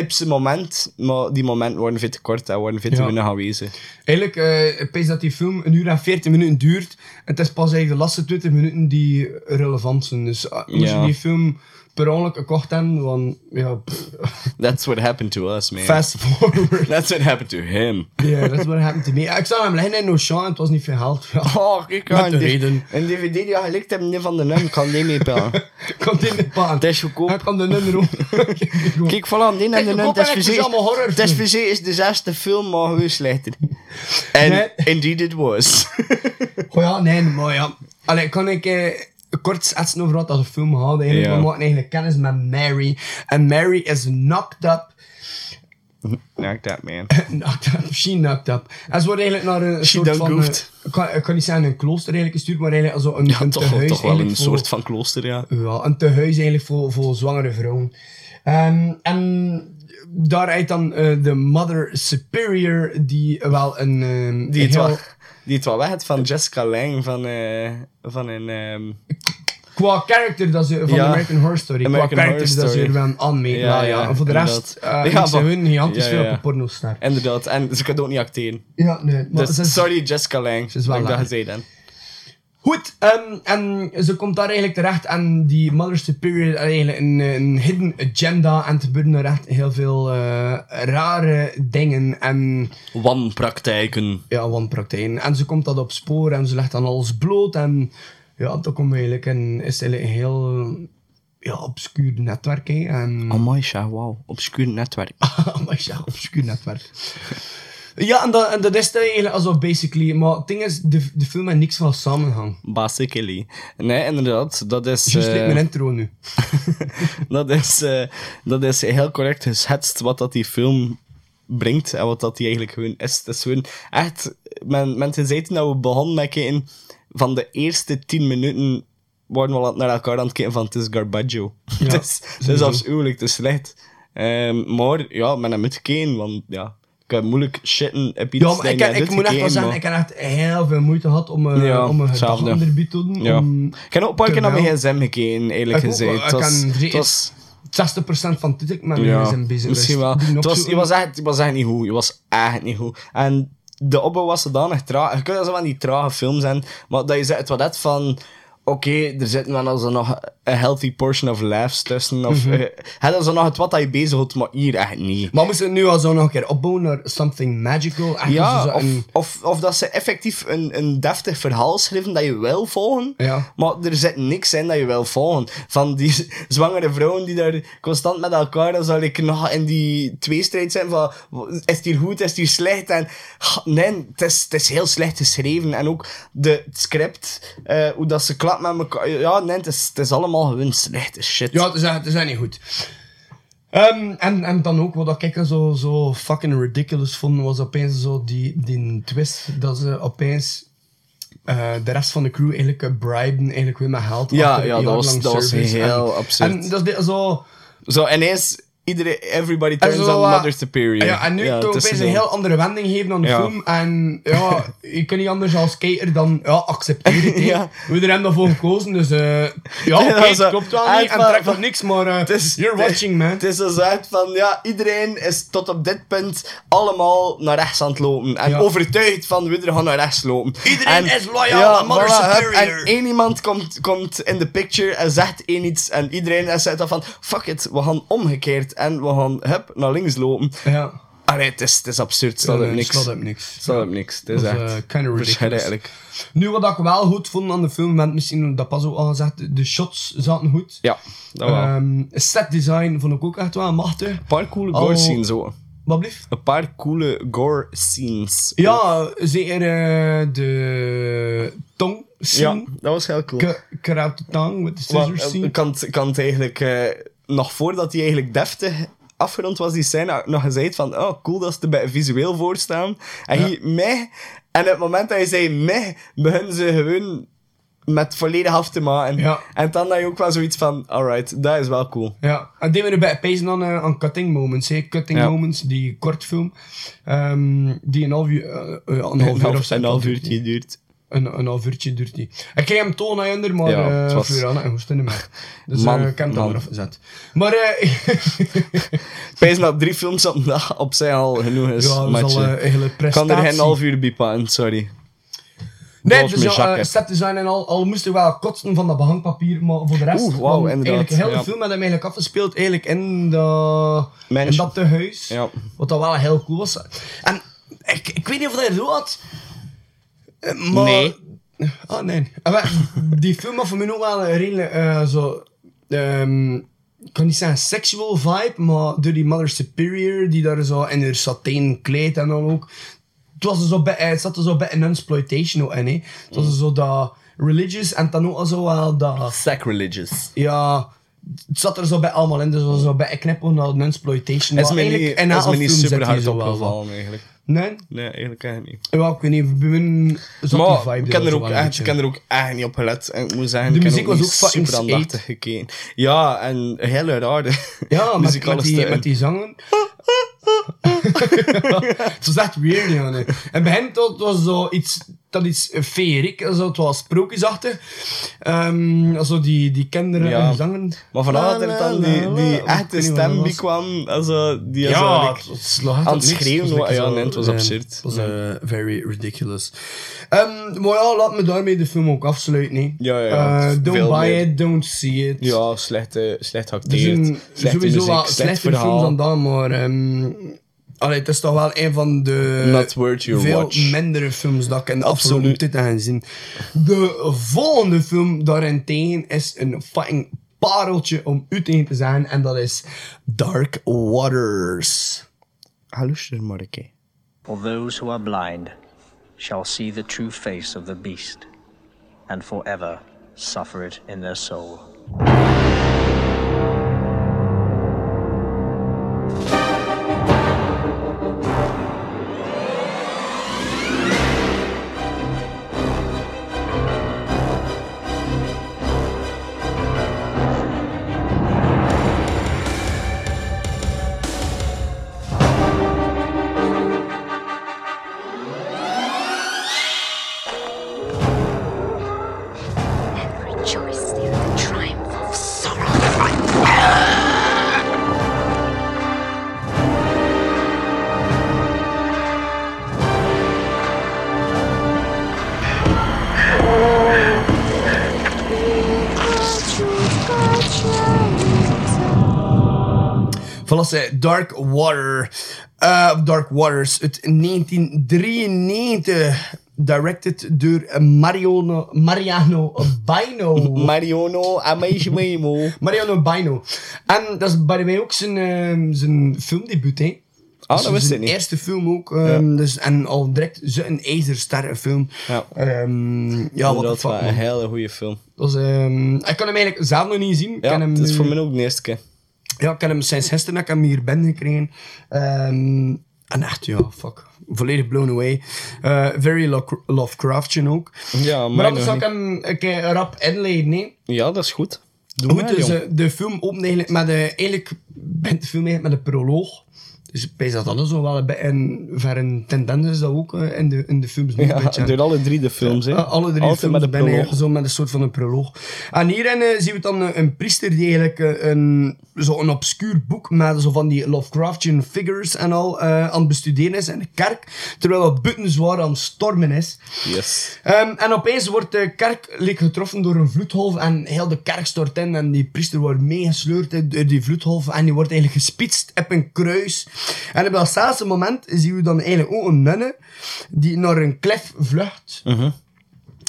Op zijn moment, maar die momenten waren veel te kort en waren veel te
Ja.
weinig aanwezig.
Eigenlijk, eh ik pees dat die film een uur en 40 minuten duurt. En het is pas eigenlijk de laatste 20 minuten die relevant zijn. Dus ah, moest
Ja.
je die film per ongeluk gekocht hebben, want ja, pff,
That's what happened to us, man.
fast forward.
That's what happened to him.
Ja, dat is wat happened to me. Ja, Ik zag hem liggen in Auchan en het was niet veel geld. Ja,
Oh, ik
Met de reden.
Een dvd die je gelikt hebt, niet van de nummer, kan niet meer bellen.
ik kon dit niet paan.
Het is
Hij
goedkoop.
kan de nummer ook.
Kijk, voilà, die en de
ik
nummer.
hoop eigenlijk
Het is
dat
verzekerd-
ze allemaal horror
het is
doen.
verzekerd is de zesde film, maar gewoon slechter. En
Nee.
indeed it was.
Goh Oh ja, nee, maar ja. Allee, kan ik eh, kort schetsen over wat dat film gaat eigenlijk.
Ja.
We maken eigenlijk kennis met Mary. En Mary is knocked up.
Knock that man.
Knocked up. She knocked up. En ze wordt eigenlijk naar een
She
soort
done
van... eh,
goofed.
ik kan, ik kan niet zeggen een klooster eigenlijk gestuurd, maar eigenlijk zo een,
Ja,
een
toch,
tehuis
toch wel een
eigenlijk voor-
soort van klooster, ja.
Ja, een tehuis eigenlijk voor, voor zwangere vrouwen. Ehm, en daaruit dan eh, de Mother Superior, die wel een... ehm,
Die het,
heel-
wel, die het wel weg had van Jessica Lange van, eh, van een... ehm,
Qua character dat ze, van
Ja.
American Horror Story.
American
qua character
Horror
dat ze
Story.
er wel aan mee.
Ja,
Ja, ja.
ja,
En voor de rest
inderdaad.
eh
Ja,
ze
maar-
hun gigantisch
Ja,
veel
ja.
op de pornostar.
inderdaad, en ze kan ook niet acteren.
Ja, nee. Maar
Dus,
ze is-
sorry, Jessica Lange.
is wel
dat ik dat
laag.
gezegd heb.
Goed, ehm, en ze komt daar eigenlijk terecht en die Mother Superior had eigenlijk een, een hidden agenda en er gebeuren er echt heel veel eh, rare dingen en
Wanpraktijken.
ja, wanpraktijken. En ze komt dat op spoor en ze legt dan alles bloot en ja, dan komt eigenlijk een, is eigenlijk een heel ja, obscuur netwerk hè, en...
Amai, Sja, wauw. Obscuur netwerk.
Ah. maar ja, obscuur netwerk. Ja, en dat, en dat is het eigenlijk alsof basically. Maar het ding is, de, de film heeft niks van samenhang.
Basically. Nee, inderdaad, dat is...
Juist
eh,
lijkt mijn intro nu.
dat, is, eh, dat is heel correct geschetst wat dat die film brengt en wat dat die eigenlijk gewoon is. Het is gewoon echt, men, mensen zeiden dat we begonnen met kijken van de eerste tien minuten waren we al naar elkaar aan het kijken van het is Garbaggio. het is, het is
sowieso.
afschuwelijk, het is slecht. Ehm, maar ja, men heeft moeten kijken, want ja, ik kan moeilijk shitten op iets
Ja, maar
dat
ik,
je
heb-
net
ik moet echt wel
gekeken,
zeggen,
maar-
ik heb echt heel veel moeite gehad om, eh
Ja,
om een
hetzelfde.
gedachte onderbied te doen.
Ja.
om-
Ik heb ook een paar keer naar mijn
terwijl-
gsm gekeken, eerlijk
Ik ook
gezegd.
wel.
Het
Ik
was,
kan
het
zeker
was,
60% van dit ik met mijn gsm bezig
misschien
was.
wel.
Die
Het was,
opzoeken.
je, was echt, je was echt niet goed. Je was echt niet goed. En de opbouw was zodanig traag. Je kunt dat zo van die trage films zijn, maar dat je zegt, het toilet van... Oké, er zitten wel zo nog een healthy portion of laughs tussen. Of,
Mhm.
mm zo nog het wat dat je bezighoudt, maar hier echt niet.
Maar moesten we het nu al zo nog een keer opbouwen naar something magical? Echt
Ja,
zo
of,
een-
of, of dat ze effectief een, een deftig verhaal schrijven dat je wil volgen,
Ja.
maar er zit niks in dat je wil volgen. Van die z- zwangere vrouwen die daar constant met elkaar dan zou ik nog in die tweestrijd zijn van w- is het hier goed, is het hier slecht? En ah, nee, het is, het is heel slecht geschreven. En ook de, het script, eh, hoe dat ze klapt met elkaar. Ja, nee, het is, het is allemaal gewoon slechte shit.
Ja, het is, echt- het is echt niet goed. Ehm, en, en dan ook, wat ik zo, zo fucking ridiculous vond, was opeens zo die, die twist dat ze opeens eh, de rest van de crew eigenlijk eh, briben, eigenlijk weer met geld.
Ja,
achter
ja,
een
dat was-
jaarlang
dat was
service.
heel
en,
absurd.
En dat is dit zo...
Zo, ineens, iedereen, everybody
en
turns
zo,
on
eh,
Mother Superior.
Ja, en nu kan
het is
opeens een
zo.
heel andere wending geven aan de
Ja.
film. En ja, je kunt niet anders als kijker dan ja, accepteren. het, hè.
Ja.
We hebben er helemaal voor gekozen, dus eh, ja,
Ja,
oké,
dat is
het
wel-
klopt wel niet. En
Eigenlijk
trekt
wel-
op niks, maar eh,
Het is,
you're watching, man.
Het is dus echt van, ja, iedereen is tot op dit punt allemaal naar rechts aan het lopen. En
Ja.
overtuigd van, we gaan naar rechts lopen.
Iedereen
En-
is loyaal aan Mother
hup,
Superior.
En één iemand komt, komt in de picture en zegt één iets. En iedereen zegt dan van, fuck it, we gaan omgekeerd. En we gaan, hup, naar links lopen.
Ja.
Allee, het is, het is absurd. Het staat
Ja,
op
nee,
niks.
het staat op niks.
Het staat op niks. Het is
Dat
echt
is, eh, kinda ridiculous.
verschrikkelijk.
Nu, wat ik wel goed vond aan de film, want misschien dat pas ook al gezegd, de shots zaten goed.
Ja, dat wel.
Ehm, set design vond ik ook echt wel machtig.
een paar coole
al-
gore scenes ook.
Wat blieft?
Een paar coole gore scenes.
Ja, zeker eh, de tong
Ja,
scene.
dat was heel cool.
K- Cut out the tongue with the scissors
Wel, eh,
scene.
Ik kan, het- ik kan het eigenlijk, eh, nog voordat hij eigenlijk deftig afgerond was, die scène had ik nog gezegd van, oh cool dat ze er bij visueel voor staan. En hier, meh. En op het moment dat hij zei meh, beginnen ze gewoon met volledig af te maken.
Ja.
En dan had je ook wel zoiets van, alright, dat is wel cool.
Ja, en die we erbij pezen aan, eh, aan Cutting Moments. hè. Cutting
Ja.
Moments, die kortfilm, ehm, die een half uur, eh, eh, een half uur of zo
een half
duurt
uurtje
die.
duurt.
Een, een half uurtje duurt die. Ik kreeg hem toon aan onder, maar
Ja,
eh,
het was-
Floriana en hoesten niet meer. Dus
Man,
eh, ik heb hem
man.
dan eraf gezet. Maar eh,
Ik Pijs dat drie films op, een dag op zijn al genoeg is.
ja, dat is
matje.
al een hele
Ik
prestatie.
kan er geen half uur bij pakken, sorry.
Nee,
Volgens
dus
mijn
ja,
zakken.
eh, set design en al, al moest er wel kotsen van dat behangpapier, maar voor de rest...
Oeh, wauw,
want
inderdaad,
Eigenlijk heel de
ja.
film had hem eigenlijk afgespeeld, eigenlijk in, dat in
Manage-
dat tehuis.
Ja.
Wat dat wel heel cool was. En ik, ik weet niet of dat je het zo had, eh, maar...
Nee.
Ah, nee. Eh, wel, die film had voor mij nog wel een redelijk eh, zo... ehm, ik kan niet zeggen sexual vibe, maar door die Mother Superior, die daar zo in haar satijn kleed en dan ook het, was er zo bij, eh, het zat er zo bij een exploitation ook in. Hè. Het was er zo dat religious en dan ook al zo wel dat...
Sacrilegious.
Ja, het zat er zo bij allemaal in. Dus dat was zo bij een knipoog naar een exploitation.
Is
maar
me
eigenlijk
niet,
in
is
elke
me niet
film zit
super
die
hard
zo wel
opgevallen eigenlijk.
van. Nee?
Nee, eigenlijk eigenlijk niet.
Ja, ik weet niet. Bij hun zat die
Maar
vibe
ik heb, er
zo
ook
wel een
echt,
beetje
ik
in.
heb er ook echt niet op gelet. En ik moet zeggen,
De
ik heb
muziek was
niet
ook fucking
super aandachtig gekeken. Ja, en heel rare
Ja, met,
muzikale
met, die,
stukken.
met die zangen. het was echt weird, ja. nee. En bij hen dat was zo iets, dat iets feeriek, zo, het was sprookjesachtig. Ehm zo die, die kinderen
Ja.
en zangen.
Maar vanaf dat er dan die, die echte stem bij
kwam.
kwam, also, die
Ja,
zo,
het was- het lag echt
aan
op
het
niks.
schreeuwen
Het was
was.
lekker
Ja,
zo-
nee, het was
nee,
absurd.
Het was eh, very ridiculous. Ehm, maar ja, laat me daarmee de film ook afsluiten. hè.
Ja, ja, ja.
Eh, don't
Veel
buy
meer.
it, don't see it.
Ja, slechte, slecht
Er
geacteerd,
zijn
slechte
Dus sowieso
muziek,
wel
slecht
slechtere films dan
dus verhaal.
dat, maar... ehm, allee, het is toch wel een van de
Not worth your
veel
watch.
mindere films dat ik in de
Absoluut.
afgelopen tijd heb gezien. De volgende film daarentegen is een fucking pareltje om u tegen te zijn. En dat is Dark Waters.
Halluster, Ah, maar een keer.
For those who are blind shall see the true face of the beast, and forever suffer it in their soul.
and rejoice in the triumph of sorrow.
was zij? Dark Water. eh, of Dark Waters uit 1993. Directed door Mariano, Mariano Baino.
Mariano Amejmemo.
Mariano Baino. En dat is bij mij ook zijn, ehm, zijn filmdebuut, hè?
Ah,
Dus
dat wist
zijn
ik niet.
eerste film ook. ehm, dus, en al direct zo'n ijzersterrenfilm.
Ja.
Ehm, ja, wat de
dat
fuck,
was een
man.
hele goede film.
Dat was, ehm, ik kan hem eigenlijk zelf nog niet zien. Ik
Ja,
kan hem
het is
nu-
voor mij ook de eerste keer.
ja, ik heb hem sinds gisteren dat ik hem hier ben gekregen. Ehm, en echt, ja, fuck. Volledig blown away. Eh, very Lo- Lovecraftian ook.
Ja,
maar
maar
anders zal
nog
ik
niet.
hem een keer rap inleiden, nee.
Ja, dat is goed. Doe
Goed,
maar,
dus
jong.
eh, de film opent eigenlijk met... eh, eigenlijk begint de film eigenlijk met een proloog. Dus ik pees dat alles zo wel een be- en ver een tendens is dat ook eh, in, de, in de films. nu een
Ja,
beetje.
door alle drie de films, hè.
Ja, alle drie
Altijd
films
met een
ben je
proloog.
zo met een soort van een proloog. En hierin eh, zien we dan eh, een priester die eigenlijk eh, een, zo'n obscuur boek met zo van die Lovecraftian figures en al eh, aan het bestuderen is in de kerk, terwijl het buiten zwaar aan het stormen is.
Yes.
Ehm, en opeens wordt de kerk like, getroffen door een vloedgolf en heel de kerk stort in en die priester wordt meegesleurd eh, door die vloedgolf en die wordt eigenlijk gespitst op een kruis. En op datzelfde moment zien we dan eigenlijk ook een nunne die naar een klif vlucht.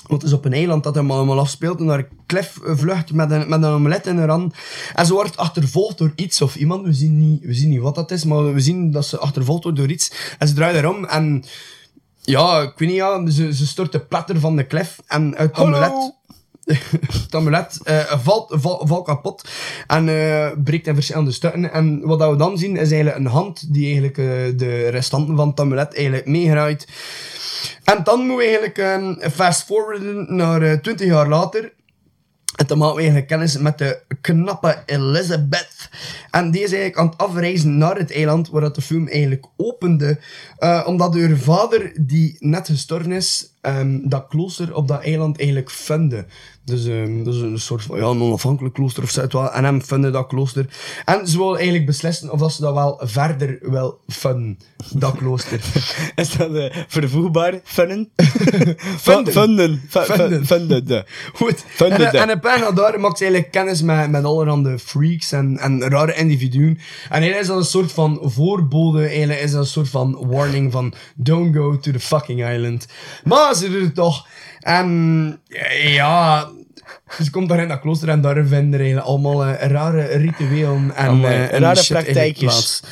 Want het is op een eiland dat hem allemaal afspeelt. En daar Cliff eh, vlucht met een, met een omelet in haar hand. En ze wordt achtervolgd door iets of iemand. We zien, niet, we zien niet wat dat is, maar we zien dat ze achtervolgd wordt door iets. En ze draait erom en... Ja, ik weet niet, ja, ze, ze stort de platter van de klif. En uit het omelet... het amulet eh, valt, val- valt kapot en eh, breekt in verschillende stukken. En wat dat we dan zien is eigenlijk een hand die eigenlijk eh, de restanten van het amulet eigenlijk meegraait. En dan moeten we eigenlijk ehm, fast-forwarden naar eh, 20 jaar later. En dan maken we eigenlijk kennis met de knappe Elizabeth. En die is eigenlijk aan het afreizen naar het eiland waar dat de film eigenlijk opende. Eh, omdat haar vader, die net gestorven is, ehm, dat klooster op dat eiland eigenlijk funde. Dus ehm, dat is een soort van ja, een onafhankelijk klooster of zo. het wel. En hem funde dat klooster. En ze wil eigenlijk beslissen of dat ze dat wel verder wil funden, dat klooster.
Is dat eh, vervoegbaar? Funnen?
Funden.
Funden. Funden. Fu- fu-
Funden.
Funden.
Goed.
Fun
en, eh,
did
en
that.
een paar jaar daar maakt ze eigenlijk kennis met, met allerhande freaks en, en rare individuen. En hij is dat een soort van voorbode, eigenlijk is dat een soort van warning van don't go to the fucking island. Maar ze doet het toch. En eh, ja, ze komt daar in dat klooster en daar vinden er eigenlijk allemaal eh, rare rituelen en,
Amai,
eh, en
rare
shit eigenlijk
praktijkjes.
plaats.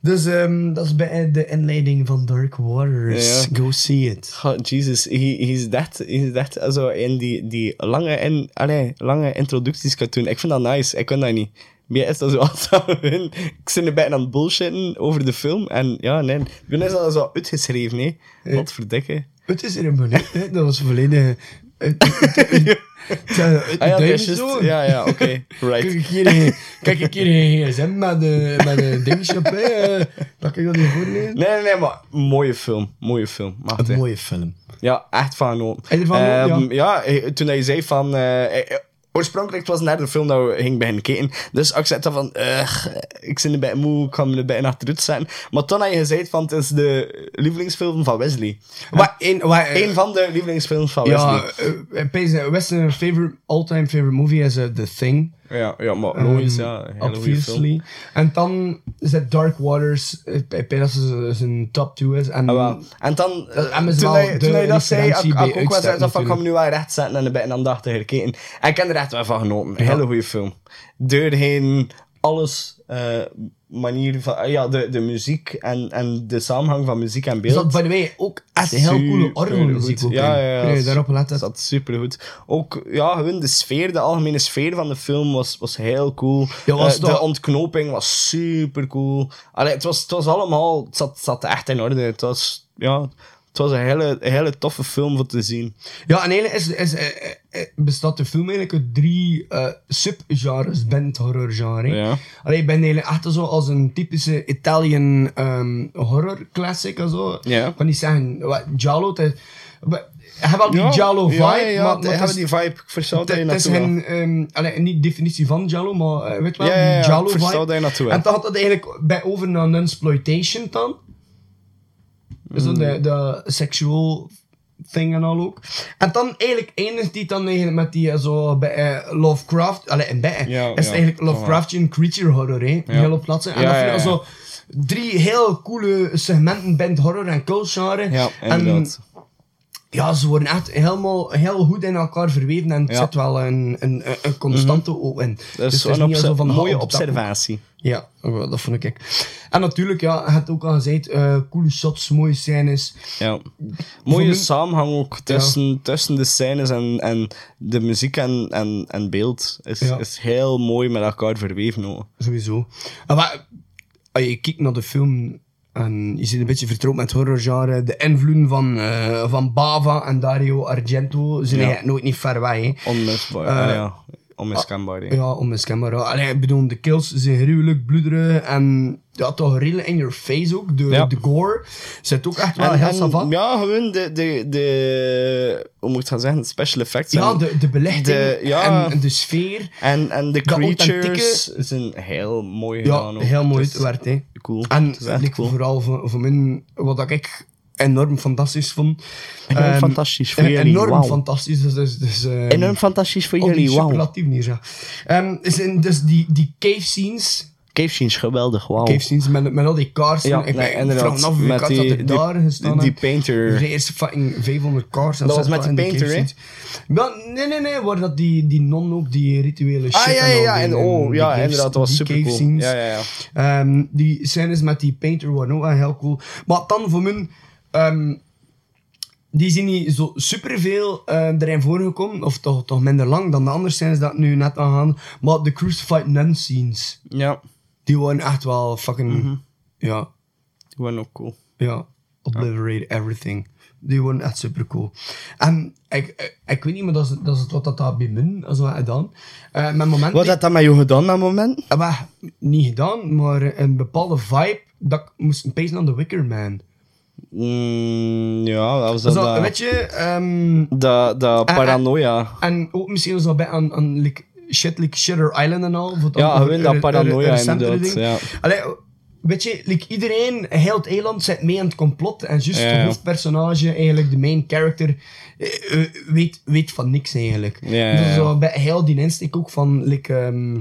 Dus ehm, dat is bij de inleiding van Dark Waters.
Ja.
Go see it.
God, Jesus, he, he's that, he's that eh, zo in die, die lange, en, allee, lange introducties kan doen. Ik vind dat nice, ik kan dat niet. Bij mij is dat zo altijd hun- Ik zit er bijna aan het bullshitten over de film. En ja, nee. Bij mij is dat zo uitgeschreven, hè. Wat verdikke.
Het is er een minuut, hè. dat was volledig. eh, Het
Ah ja, dat is
is
juist-
zo.
Ja, ja, oké.
Kijk
Right.
ik hier in- kijk ik hier in je gsm met de, met de dingetje op, hè. eh, Pak ik dat hier voor mee?
Nee, nee, nee, maar mooie film. Mooie film. Mag het, hè.
Een mooie film.
Ja, echt van genoten.
Heb je ervan genoten,
Ehm, ja. eh, toen hij zei van... eh, eh, Oorspronkelijk was het naar de film dat we gingen beginnen kijken. Dus ik zei dan van, "Ugh, ik zit er bij moe, ik kan me er bij achteruit zetten. Maar toen had je gezegd van, het is de lievelingsfilm van Wesley.
Wat een, wat, eh,
Eén van de lievelingsfilms van
ja,
Wesley.
eh, Pees, eh, Western favorite, all-time favorite movie is eh, The Thing.
Ja, ja maar logisch,
Ehm,
ja. een hele goede film.
obviously. En dan is het Dark Waters, eh, ik denk dat ze zijn top 2 is. En
Ah, wel. En dan,
Dat
eh,
is
toen
wel
hij,
de
toen hij dat zei, ik,
referentie
ik
bij
ook wel
uitstek
zei van, ik kan
natuurlijk.
me nu wel recht zetten en een beetje aan de achter gekeken. En ik heb er echt wel van genoten. Hele goede film. Doorheen alles, eh, manier van, ah ja, de, de muziek en, en de samenhang van muziek en
Er
beeld.
zat bij de way ook echt heel coole orgelmuziek
Supergoed.
ook
ja,
in.
Ja, ja,
Kun je daarop
Dat
letten?
zat supergoed. Ook, ja, gewoon de sfeer, de algemene sfeer van de film was, was heel cool.
Ja, was
Eh,
dat-
de ontknoping was super cool. Allee, het, was, het was allemaal, het zat, het zat echt in orde. Het was, ja, het was een hele, een hele toffe film voor te zien.
Ja, en eigenlijk is, is, eh, eh, eh, bestaat de film eigenlijk uit drie eh, subgenres binnen het horrorgenre.
Ja.
Allee, ik ben eigenlijk echt zo als een typische Italian ehm, horror classic en zo.
Ja.
Ik kan niet zeggen, wat, Giallo, het is- we- hebben wel die Giallo vibe,
ja, ja, ja,
maar, maar
maar,
het is-
die vibe. Ik versta
het
dat je
het is
naartoe wil.
geen, ehm, allee, niet definitie van Giallo, maar eh, weet wel,
Ja, ja, ja,
die Giallo
ik versta
vibe.
waar je naartoe wil.
En dan had dat eigenlijk bij over
Hmm.
naar een exploitation dan. Dus dan de, de seksueel thing en al ook. En dan eigenlijk eindigt die dan eigenlijk met die eh, zo bij, eh, Lovecraft, allee, en bij, eh,
Ja,
is het
ja,
eigenlijk
voilà.
Lovecraftian creature horror, hè?
Ja.
Die heel op plat zijn. En
Ja,
dat vind
ja,
ik
ja.
zo drie heel coole segmenten bent horror en cultgenre.
Ja,
en
inderdaad. Dus
ja, ze worden echt helemaal heel goed in elkaar verweven en het
Ja. Mhm.
zit wel een, een, een constante oog in.
Dat is
het
een
niet
obse-
zo van de
mooie
hand op de tap.
observatie.
Ja, oh, dat vond ik. En natuurlijk, ja, je hebt ook al gezegd, eh, coole shots, mooie scènes.
Ja.
Voor
Mooie
mij-
samenhang ook tussen, tussen de scènes en, en de muziek en, en, en beeld. Is,
Ja.
is heel mooi met elkaar verweven. hoor.
Sowieso. En wat, als je kijkt naar de film en je zit een beetje vertrouwd met het horrorgenre, de invloeden van, eh, van Bava en Dario Argento zijn
Ja.
eigenlijk nooit niet ver weg. hè.
Onmisbaar.
Eh,
ah, ja. Onmiskenbaar. hè.
Ja, onmiskenbaar. ja. Allee, ik bedoel, de kills zijn gruwelijk, bloederig en ja, toch rillen in your face ook. De,
Ja.
de gore zit ook echt wel
En-
heel
en-
savant.
ja, gewoon de, de, de, hoe moet ik het gaan zeggen, de special effects.
Ja,
en
de, de belichting
de- ja.
en de sfeer.
En, en de
De
creatures
authentieke-
zijn heel mooi
Ja,
gedaan. ook.
heel mooi
Het is
uitgewerkt. hè.
Cool.
En
Het is echt
ik
cool.
vooral voor, voor mij, wat ik enorm fantastisch vond.
Enorm
Ehm,
fantastisch voor
eh,
jullie,
Enorm
wauw.
fantastisch. Dus, dus, dus, ehm,
Enorm fantastisch voor
op
jullie,
die
wauw.
superlatief manier, ja. Ehm, zijn dus die, die cave scenes,
Cave scenes, geweldig, wauw.
cave scenes met, met al die kaarsen.
Oh. Ja,
ik
nee,
ben
inderdaad,
vanaf af
met
dat
die-
er
die-
daar gestaan
die
heeft.
painter.
Er zijn eerst fucking 500 kaarsen.
Dat was
zat
met
in
die
cave
painter, hè?
scenes. Ja, nee, nee, nee, waar dat die, die non ook die rituele shit
Ah, ja,
en
ja,
al
ja.
die-
En, oh,
die
ja,
cave-
inderdaad, dat was
die
super
cave
cool.
scenes.
Ja, ja, ja.
Ehm, die scènes met die painter waren ook wel heel cool. Maar dan voor mijn... ehm, die zijn niet zo superveel eh erin voorgekomen. Of toch, toch minder lang dan de andere scènes dat nu net aan gaan. Maar de Crucified Nun scenes.
Ja.
Die waren echt wel fucking...
Mhm.
Ja,
Die waren ook cool.
ja. Obliterate everything. Die waren echt super cool. En ik, ik, ik weet niet, maar dat is, dat is het wat dat daar bij mij is wat gedaan. Eh met momenten...
Wat had dat met jou gedaan dat moment?
Eh, maar, niet gedaan, maar een bepaalde vibe dat ik moest pezen aan The Wicker Man.
Mm, ja, dat was dat.
Zo,
dat-
weet je, ehm,
Dat, dat
eh,
paranoia.
en ook misschien zo bij aan, aan like, shit like Shutter Island en al. voor het
Ja,
andere-
gewoon dat
re-
paranoia
re- recentere
inderdaad,
ding.
ja.
Allee, weet je, like, iedereen, heel het eiland zit mee aan het complot en juist
Ja,
het
ja.
hoofdpersonage, eigenlijk de main character, eh, eh, weet, weet van niks eigenlijk.
Ja, ja,
Dus
ja.
zo bij heel die insteek ook van like, ehm,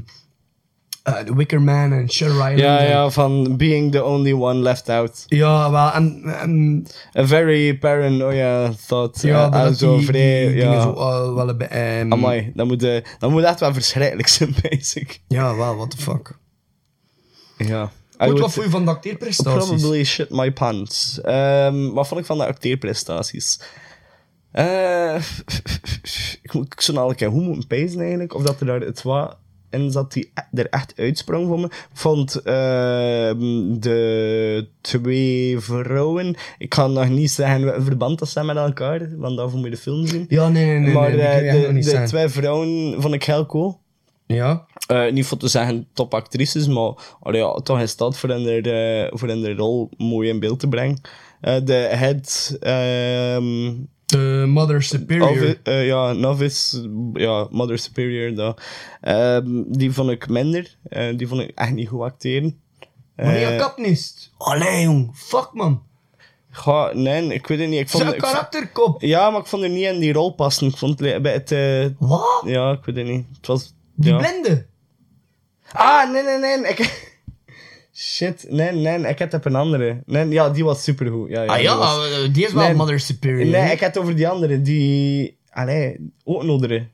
eh, The Wicker Man en Shutter Island.
Ja,
en-
ja, van being the only one left out.
Ja, wel, en, en
A very paranoia thought.
Ja,
eh,
maar
en
dat
zo
die,
vrij.
die dingen
ja.
zo eh, wel een be- ehm,
Amai, dat moet, eh, dat moet echt wel verschrikkelijk zijn, basic.
Ja, wel, what the fuck.
Ja. I
Goed,
would
wat voor je van de acteerprestaties?
Probably shit my pants. Ehm, wat vond ik van de acteerprestaties? Eh, ik, moet- ik zou nou een keer hoe moeten pijzen eigenlijk, of dat er daar het wat in zat die e- er echt uitsprong voor me. Ik vond ehm, de twee vrouwen, ik kan nog niet zeggen wat verband dat zijn met elkaar, want daarvoor moet je de film zien.
Ja, nee, nee, nee.
maar
nee, die
eh,
kun je echt nog
de,
niet
de
zeggen.
twee vrouwen vond ik heel cool.
Ja,
Eh, niet voor te zeggen topactrices, maar allee, ja, toch in staat voor hun, eh, voor hun rol mooi in beeld te brengen. Eh, de head ehm,
de Mother Superior.
novi- eh, ja, novice, ja, mother superior, dat. Ehm, die vond ik minder. Eh, die vond ik echt niet goed acteren.
Maria
Eh,
Kapnist. Allee, jong. Fuck, man.
goh, nee, ik weet het niet. Ik vond,
Zijn
ik vond-
karakterkop.
ja, maar ik vond er niet in die rol passen. Ik vond het bij het... eh,
Wat?
ja, ik weet het niet. Het was...
Die
ja.
blende.
Ah, nee, nee, nee. Ik... Shit, nee, nee, ik had op een andere. Nee, ja, die was supergoed. Ja, ja,
Ah ja,
die was-
eh, die is wel
Nee,
Mother Superior.
Nee,
hè?
ik had het over die andere, die... Allee, ook een andere.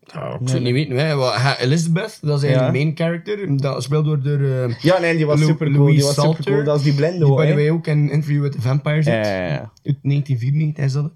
Ja, ik zou het niet weten. Hè. Wat- ha, Elizabeth, dat is eigenlijk de
Ja.
main character. Dat speelt door de... eh,
Ja, nee, die was
Lou-
supercool.
Louise
Die was
Salter,
supercool. Dat is die blende
Die
hoor.
by the
hè.
way ook in Interview with the Vampire zit.
Ja, ja, ja.
Uit 1994 is dat.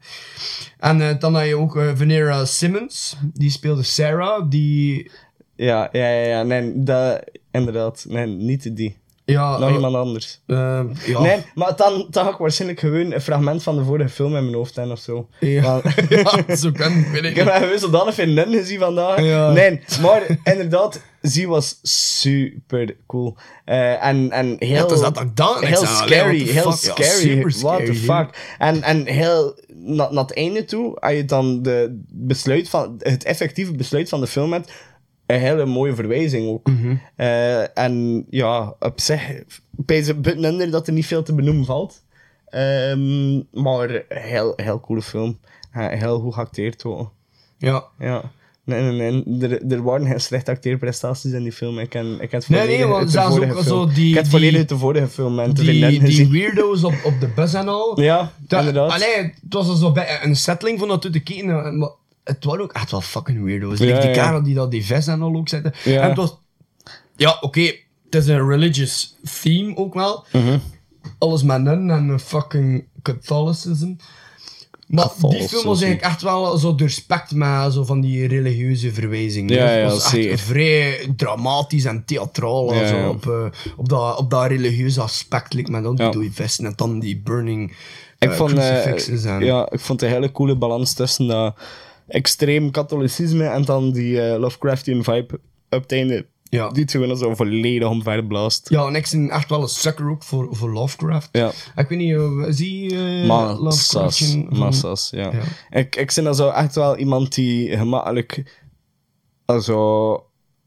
En eh, dan had je ook eh, Venera Simmons. Die speelde Sarah. Die...
Ja, ja, ja, ja, nee, dat... Inderdaad, nee, niet die.
Ja,
Nog
eh,
iemand anders.
eh, ja.
Nee, maar dan, dan had ik waarschijnlijk gewoon een fragment van de vorige film in mijn hoofd hebben of zo.
Ja.
Want-
ja, zo kan het, weet ik
Ik heb
niet.
haar gewoon zodanig in Nun gezien vandaag.
Ja.
Nee, maar inderdaad, ze was super cool. Eh, en, en heel,
Ja, het is dat dat ik dan niks
heel
aan-
scary,
Allee, what the
heel
fuck? Ja,
scary.
super
what the
scary, hè.
fuck. En, en heel, na, na het einde toe, als je dan de besluit van, het effectieve besluit van de film hebt, een hele mooie verwijzing ook.
Mhm.
Eh, en ja, op zich, bij Button Under dat er niet veel te benoemen valt. Ehm, maar heel, heel coole film. Eh, heel goed geacteerd ook.
Ja.
ja. Nee, nee, nee. Er, er waren geen slechte acteerprestaties in die film. Ik ken, ik ken het
Nee, nee,
volledig
want
uit de
zelfs
vorige
ook
film.
zo die-
Ik heb het
die-
volledig uit de vorige film en te
Die,
vinden
die
gezien.
weirdos op, op de bus en al.
Ja,
Dat-
inderdaad.
Allee, het was al zo bij een settling van dat toe te kijken. en- maar Het waren ook echt wel fucking weirdo's.
Ja,
Like die
ja.
kerel die dat die vis en al ook zette.
Ja.
En het was... Ja, oké. Het is een religious theme ook wel.
Mhm.
Alles met nun en een fucking Catholicism. Maar die film was
Catholicism.
eigenlijk echt wel zo doorspekt met zo van die religieuze verwijzingen.
Ja,
Dus het
ja,
was echt
zeker.
vrij dramatisch en theatraal.
Ja,
zo,
ja.
Op, eh, op, dat, op dat religieuze aspect. Like, met dan die
Ja.
dode vesten en dan die burning
Ik
eh,
vond, eh,
crucifixes. en-
ja, ik vond een hele coole balans tussen dat extreem katholicisme en dan die eh, Lovecraftian vibe op het einde.
Ja.
Die twee werden zo volledig omverblaast.
Ja, en ik ben echt wel een sucker ook voor, voor Lovecraft.
Ja.
Ik weet niet, eh, zie je Lovecraft?
Massas, massas, ja. Ik, ik ben dan zo echt wel iemand die gemakkelijk also,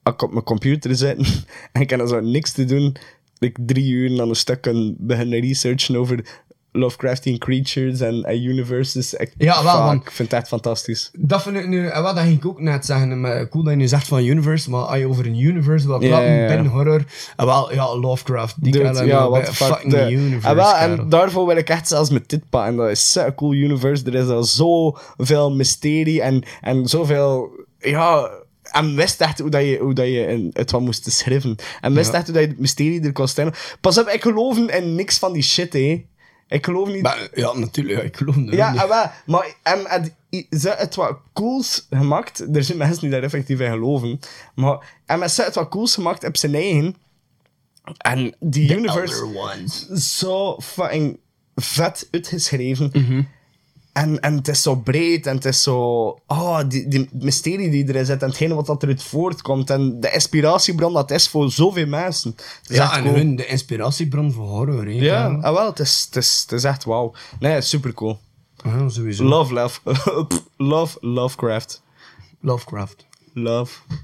als ik op mijn computer zit en ik heb dan zo niks te doen, like drie uur aan een stuk kan beginnen researchen over Lovecraftian creatures en en universes. Ik,
Ja, wel,
fuck,
want-
Ik vind het echt fantastisch.
Dat vind ik nu, en wat dat ging ik ook net zeggen, eh, maar cool dat je nu zegt van universe, maar als je over een universe wil
Ja,
praten,
ja, ja.
binnen horror, en wel, ja, Lovecraft, die
Dude,
kan
ja,
ja,
wat
eh, fucking
de-
universe.
En, Ah, wel, en
kerel.
daarvoor wil ik echt zelfs met dit pa. En dat is zo'n cool universe. Er is al zoveel mysterie en, en zoveel. Ja, en wist echt hoe, dat je, hoe dat je in- het wat moest schrijven. En wist
Ja.
echt hoe dat je het mysterie er kon stellen. Pas op, ik geloof in niks van die shit, hè. Ik geloof niet.
Maar, ja, natuurlijk, ja, ik geloof het
ja,
niet.
en wel, maar en, en, i- ze het wat cools gemaakt. Er zijn mensen die daar effectief in geloven. Maar en met ze het wat cools gemaakt op zijn eigen. En die
The
universe
Elder Ones.
zo fucking vet uitgeschreven.
Mhm.
En, en het is zo breed en het is zo. Oh, die, die mysterie die erin zit en hetgene wat dat eruit voortkomt. En de inspiratiebron dat is voor zoveel mensen. Het is echt
Ja, en
cool.
hun, de inspiratiebron voor horror, hè,
Ja,
kerel.
ah, wel, het is, het, is, het is echt wauw. Nee, super cool.
Ja, sowieso.
Love, love. Pff, love, Lovecraft.
Lovecraft.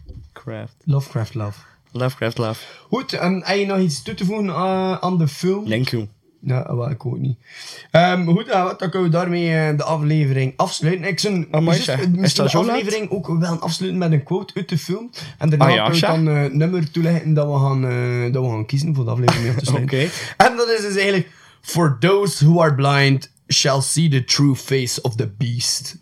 Lovecraft.
Lovecraft love.
Lovecraft, love.
Goed, en heb je nog iets toe te voegen eh, aan de film?
Thank you.
Ja, eh, wel, ik ook niet. Ehm, goed, eh, wat, dan kunnen we daarmee eh, de aflevering afsluiten. Ik zou
Amai,
juist,
zeg.
eh,
Ah, Is
misschien
dat
de
zo laat?
aflevering ook wel afsluiten met een quote uit de film. En daarna
Ah, ja,
kan ik
zeg.
dan eh, nummer toelichten dat we, gaan, eh, dat we gaan kiezen voor de aflevering mee af te sluiten.
Oké.
En dat is dus eigenlijk... For those who are blind shall see the true face of the beast.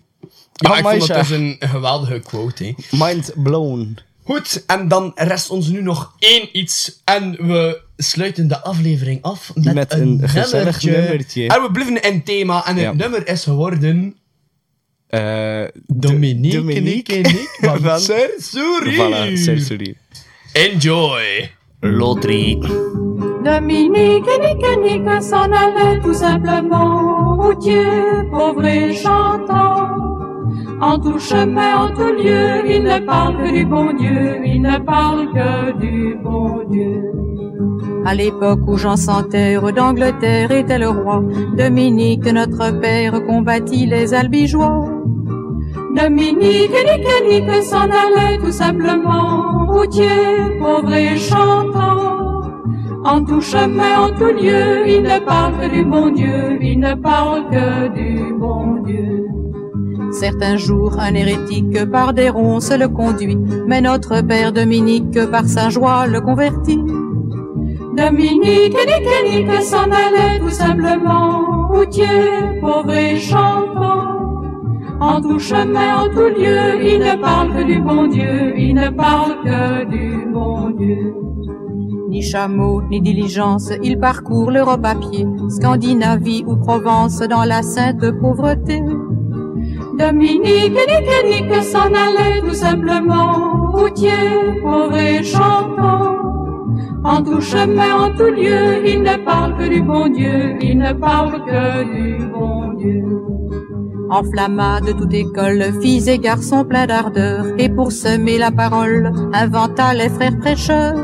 Ja, ik
Amai,
vond dat dus
zeg.
een geweldige quote, hè.
Mind blown.
Goed, en dan rest ons nu nog één iets. En we sluiten de aflevering af met,
Met
een,
een gezellig
nummertje.
nummertje.
En we blijven in thema. En het
Ja.
nummer is geworden...
Eh
Dominique,
Dominique.
Nick en Nick van,
Van-
Sersouri.
voilà, sorry, sorry.
Enjoy.
Loterie.
Dominique et Nick et Nick s'en allaient tout simplement, routiers, pauvres et chantants. En tout chemin, en tout lieu, ils ne parlent que du bon Dieu, ils ne parlent que du bon Dieu. À l'époque où Jean sans terre d'Angleterre était le roi, Dominique, notre père, combattit les albigeois. Dominique et Nick et Nick s'en allaient tout simplement, routiers, pauvres et chantants. En tout chemin, en tout lieu, il ne parle que du bon Dieu, il ne parle que du bon Dieu. Certains jours, un hérétique par des ronces le conduit, mais notre père Dominique par sa joie le convertit. Dominique et Nick et Nick s'en allaient tout simplement, routiers, pauvres et chantants. En tout chemin, en tout lieu, il ne parle que du bon Dieu, il ne parle que du bon Dieu. Ni chameau, ni diligence, il parcourt l'Europe à pied, Scandinavie ou Provence dans la sainte pauvreté. Dominique et Nick et Nick s'en allaient tout simplement, routiers, pauvres et chantants. En tout chemin, en tout lieu, il ne parle que du bon Dieu, il ne parle que du bon Dieu. Enflamma de toute école, filles et garçons pleins d'ardeur, et pour semer la parole, inventa les frères prêcheurs.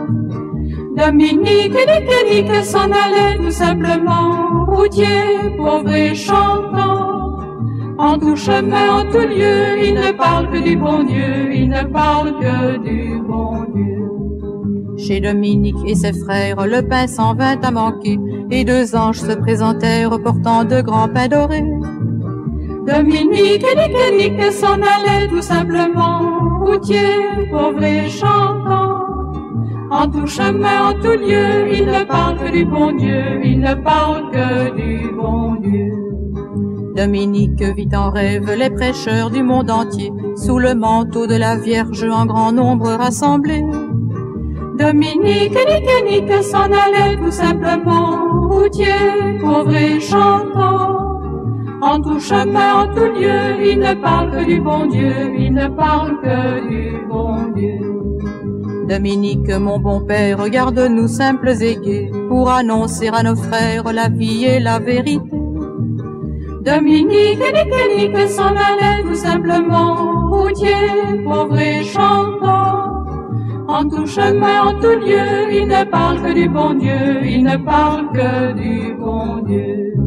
Dominique et Nick et Nick s'en allaient tout simplement, routiers, pauvres et chantants. En tout chemin, en tout lieu, ils ne parlent que du bon Dieu, ils ne parlent que du bon Dieu.
Chez Dominique et ses frères, le pain s'en vint à manquer, et deux anges se présentèrent portant de grands pains dorés.
Dominique et Nick et Nick s'en allaient tout simplement, routiers, pauvres et chantants. En tout chemin, en tout lieu, ils ne parlent que du bon Dieu, ils ne parlent que du bon Dieu.
Dominique vit en rêve les prêcheurs du monde entier, sous le manteau de la Vierge en grand nombre rassemblés.
Dominique et Nick et Nick s'en allaient tout simplement, routiers, pauvres et chantants. En tout chemin, en tout lieu, il ne parle que du bon Dieu, il ne parle que du bon Dieu.
Dominique, mon bon père, regarde-nous simples et gais pour annoncer à nos frères la vie et la vérité.
Dominique et Nick s'en allaient tout simplement, routiers, pauvres et chantants. En tout chemin, en tout lieu, il ne parle que du bon Dieu, il ne parle que du bon Dieu.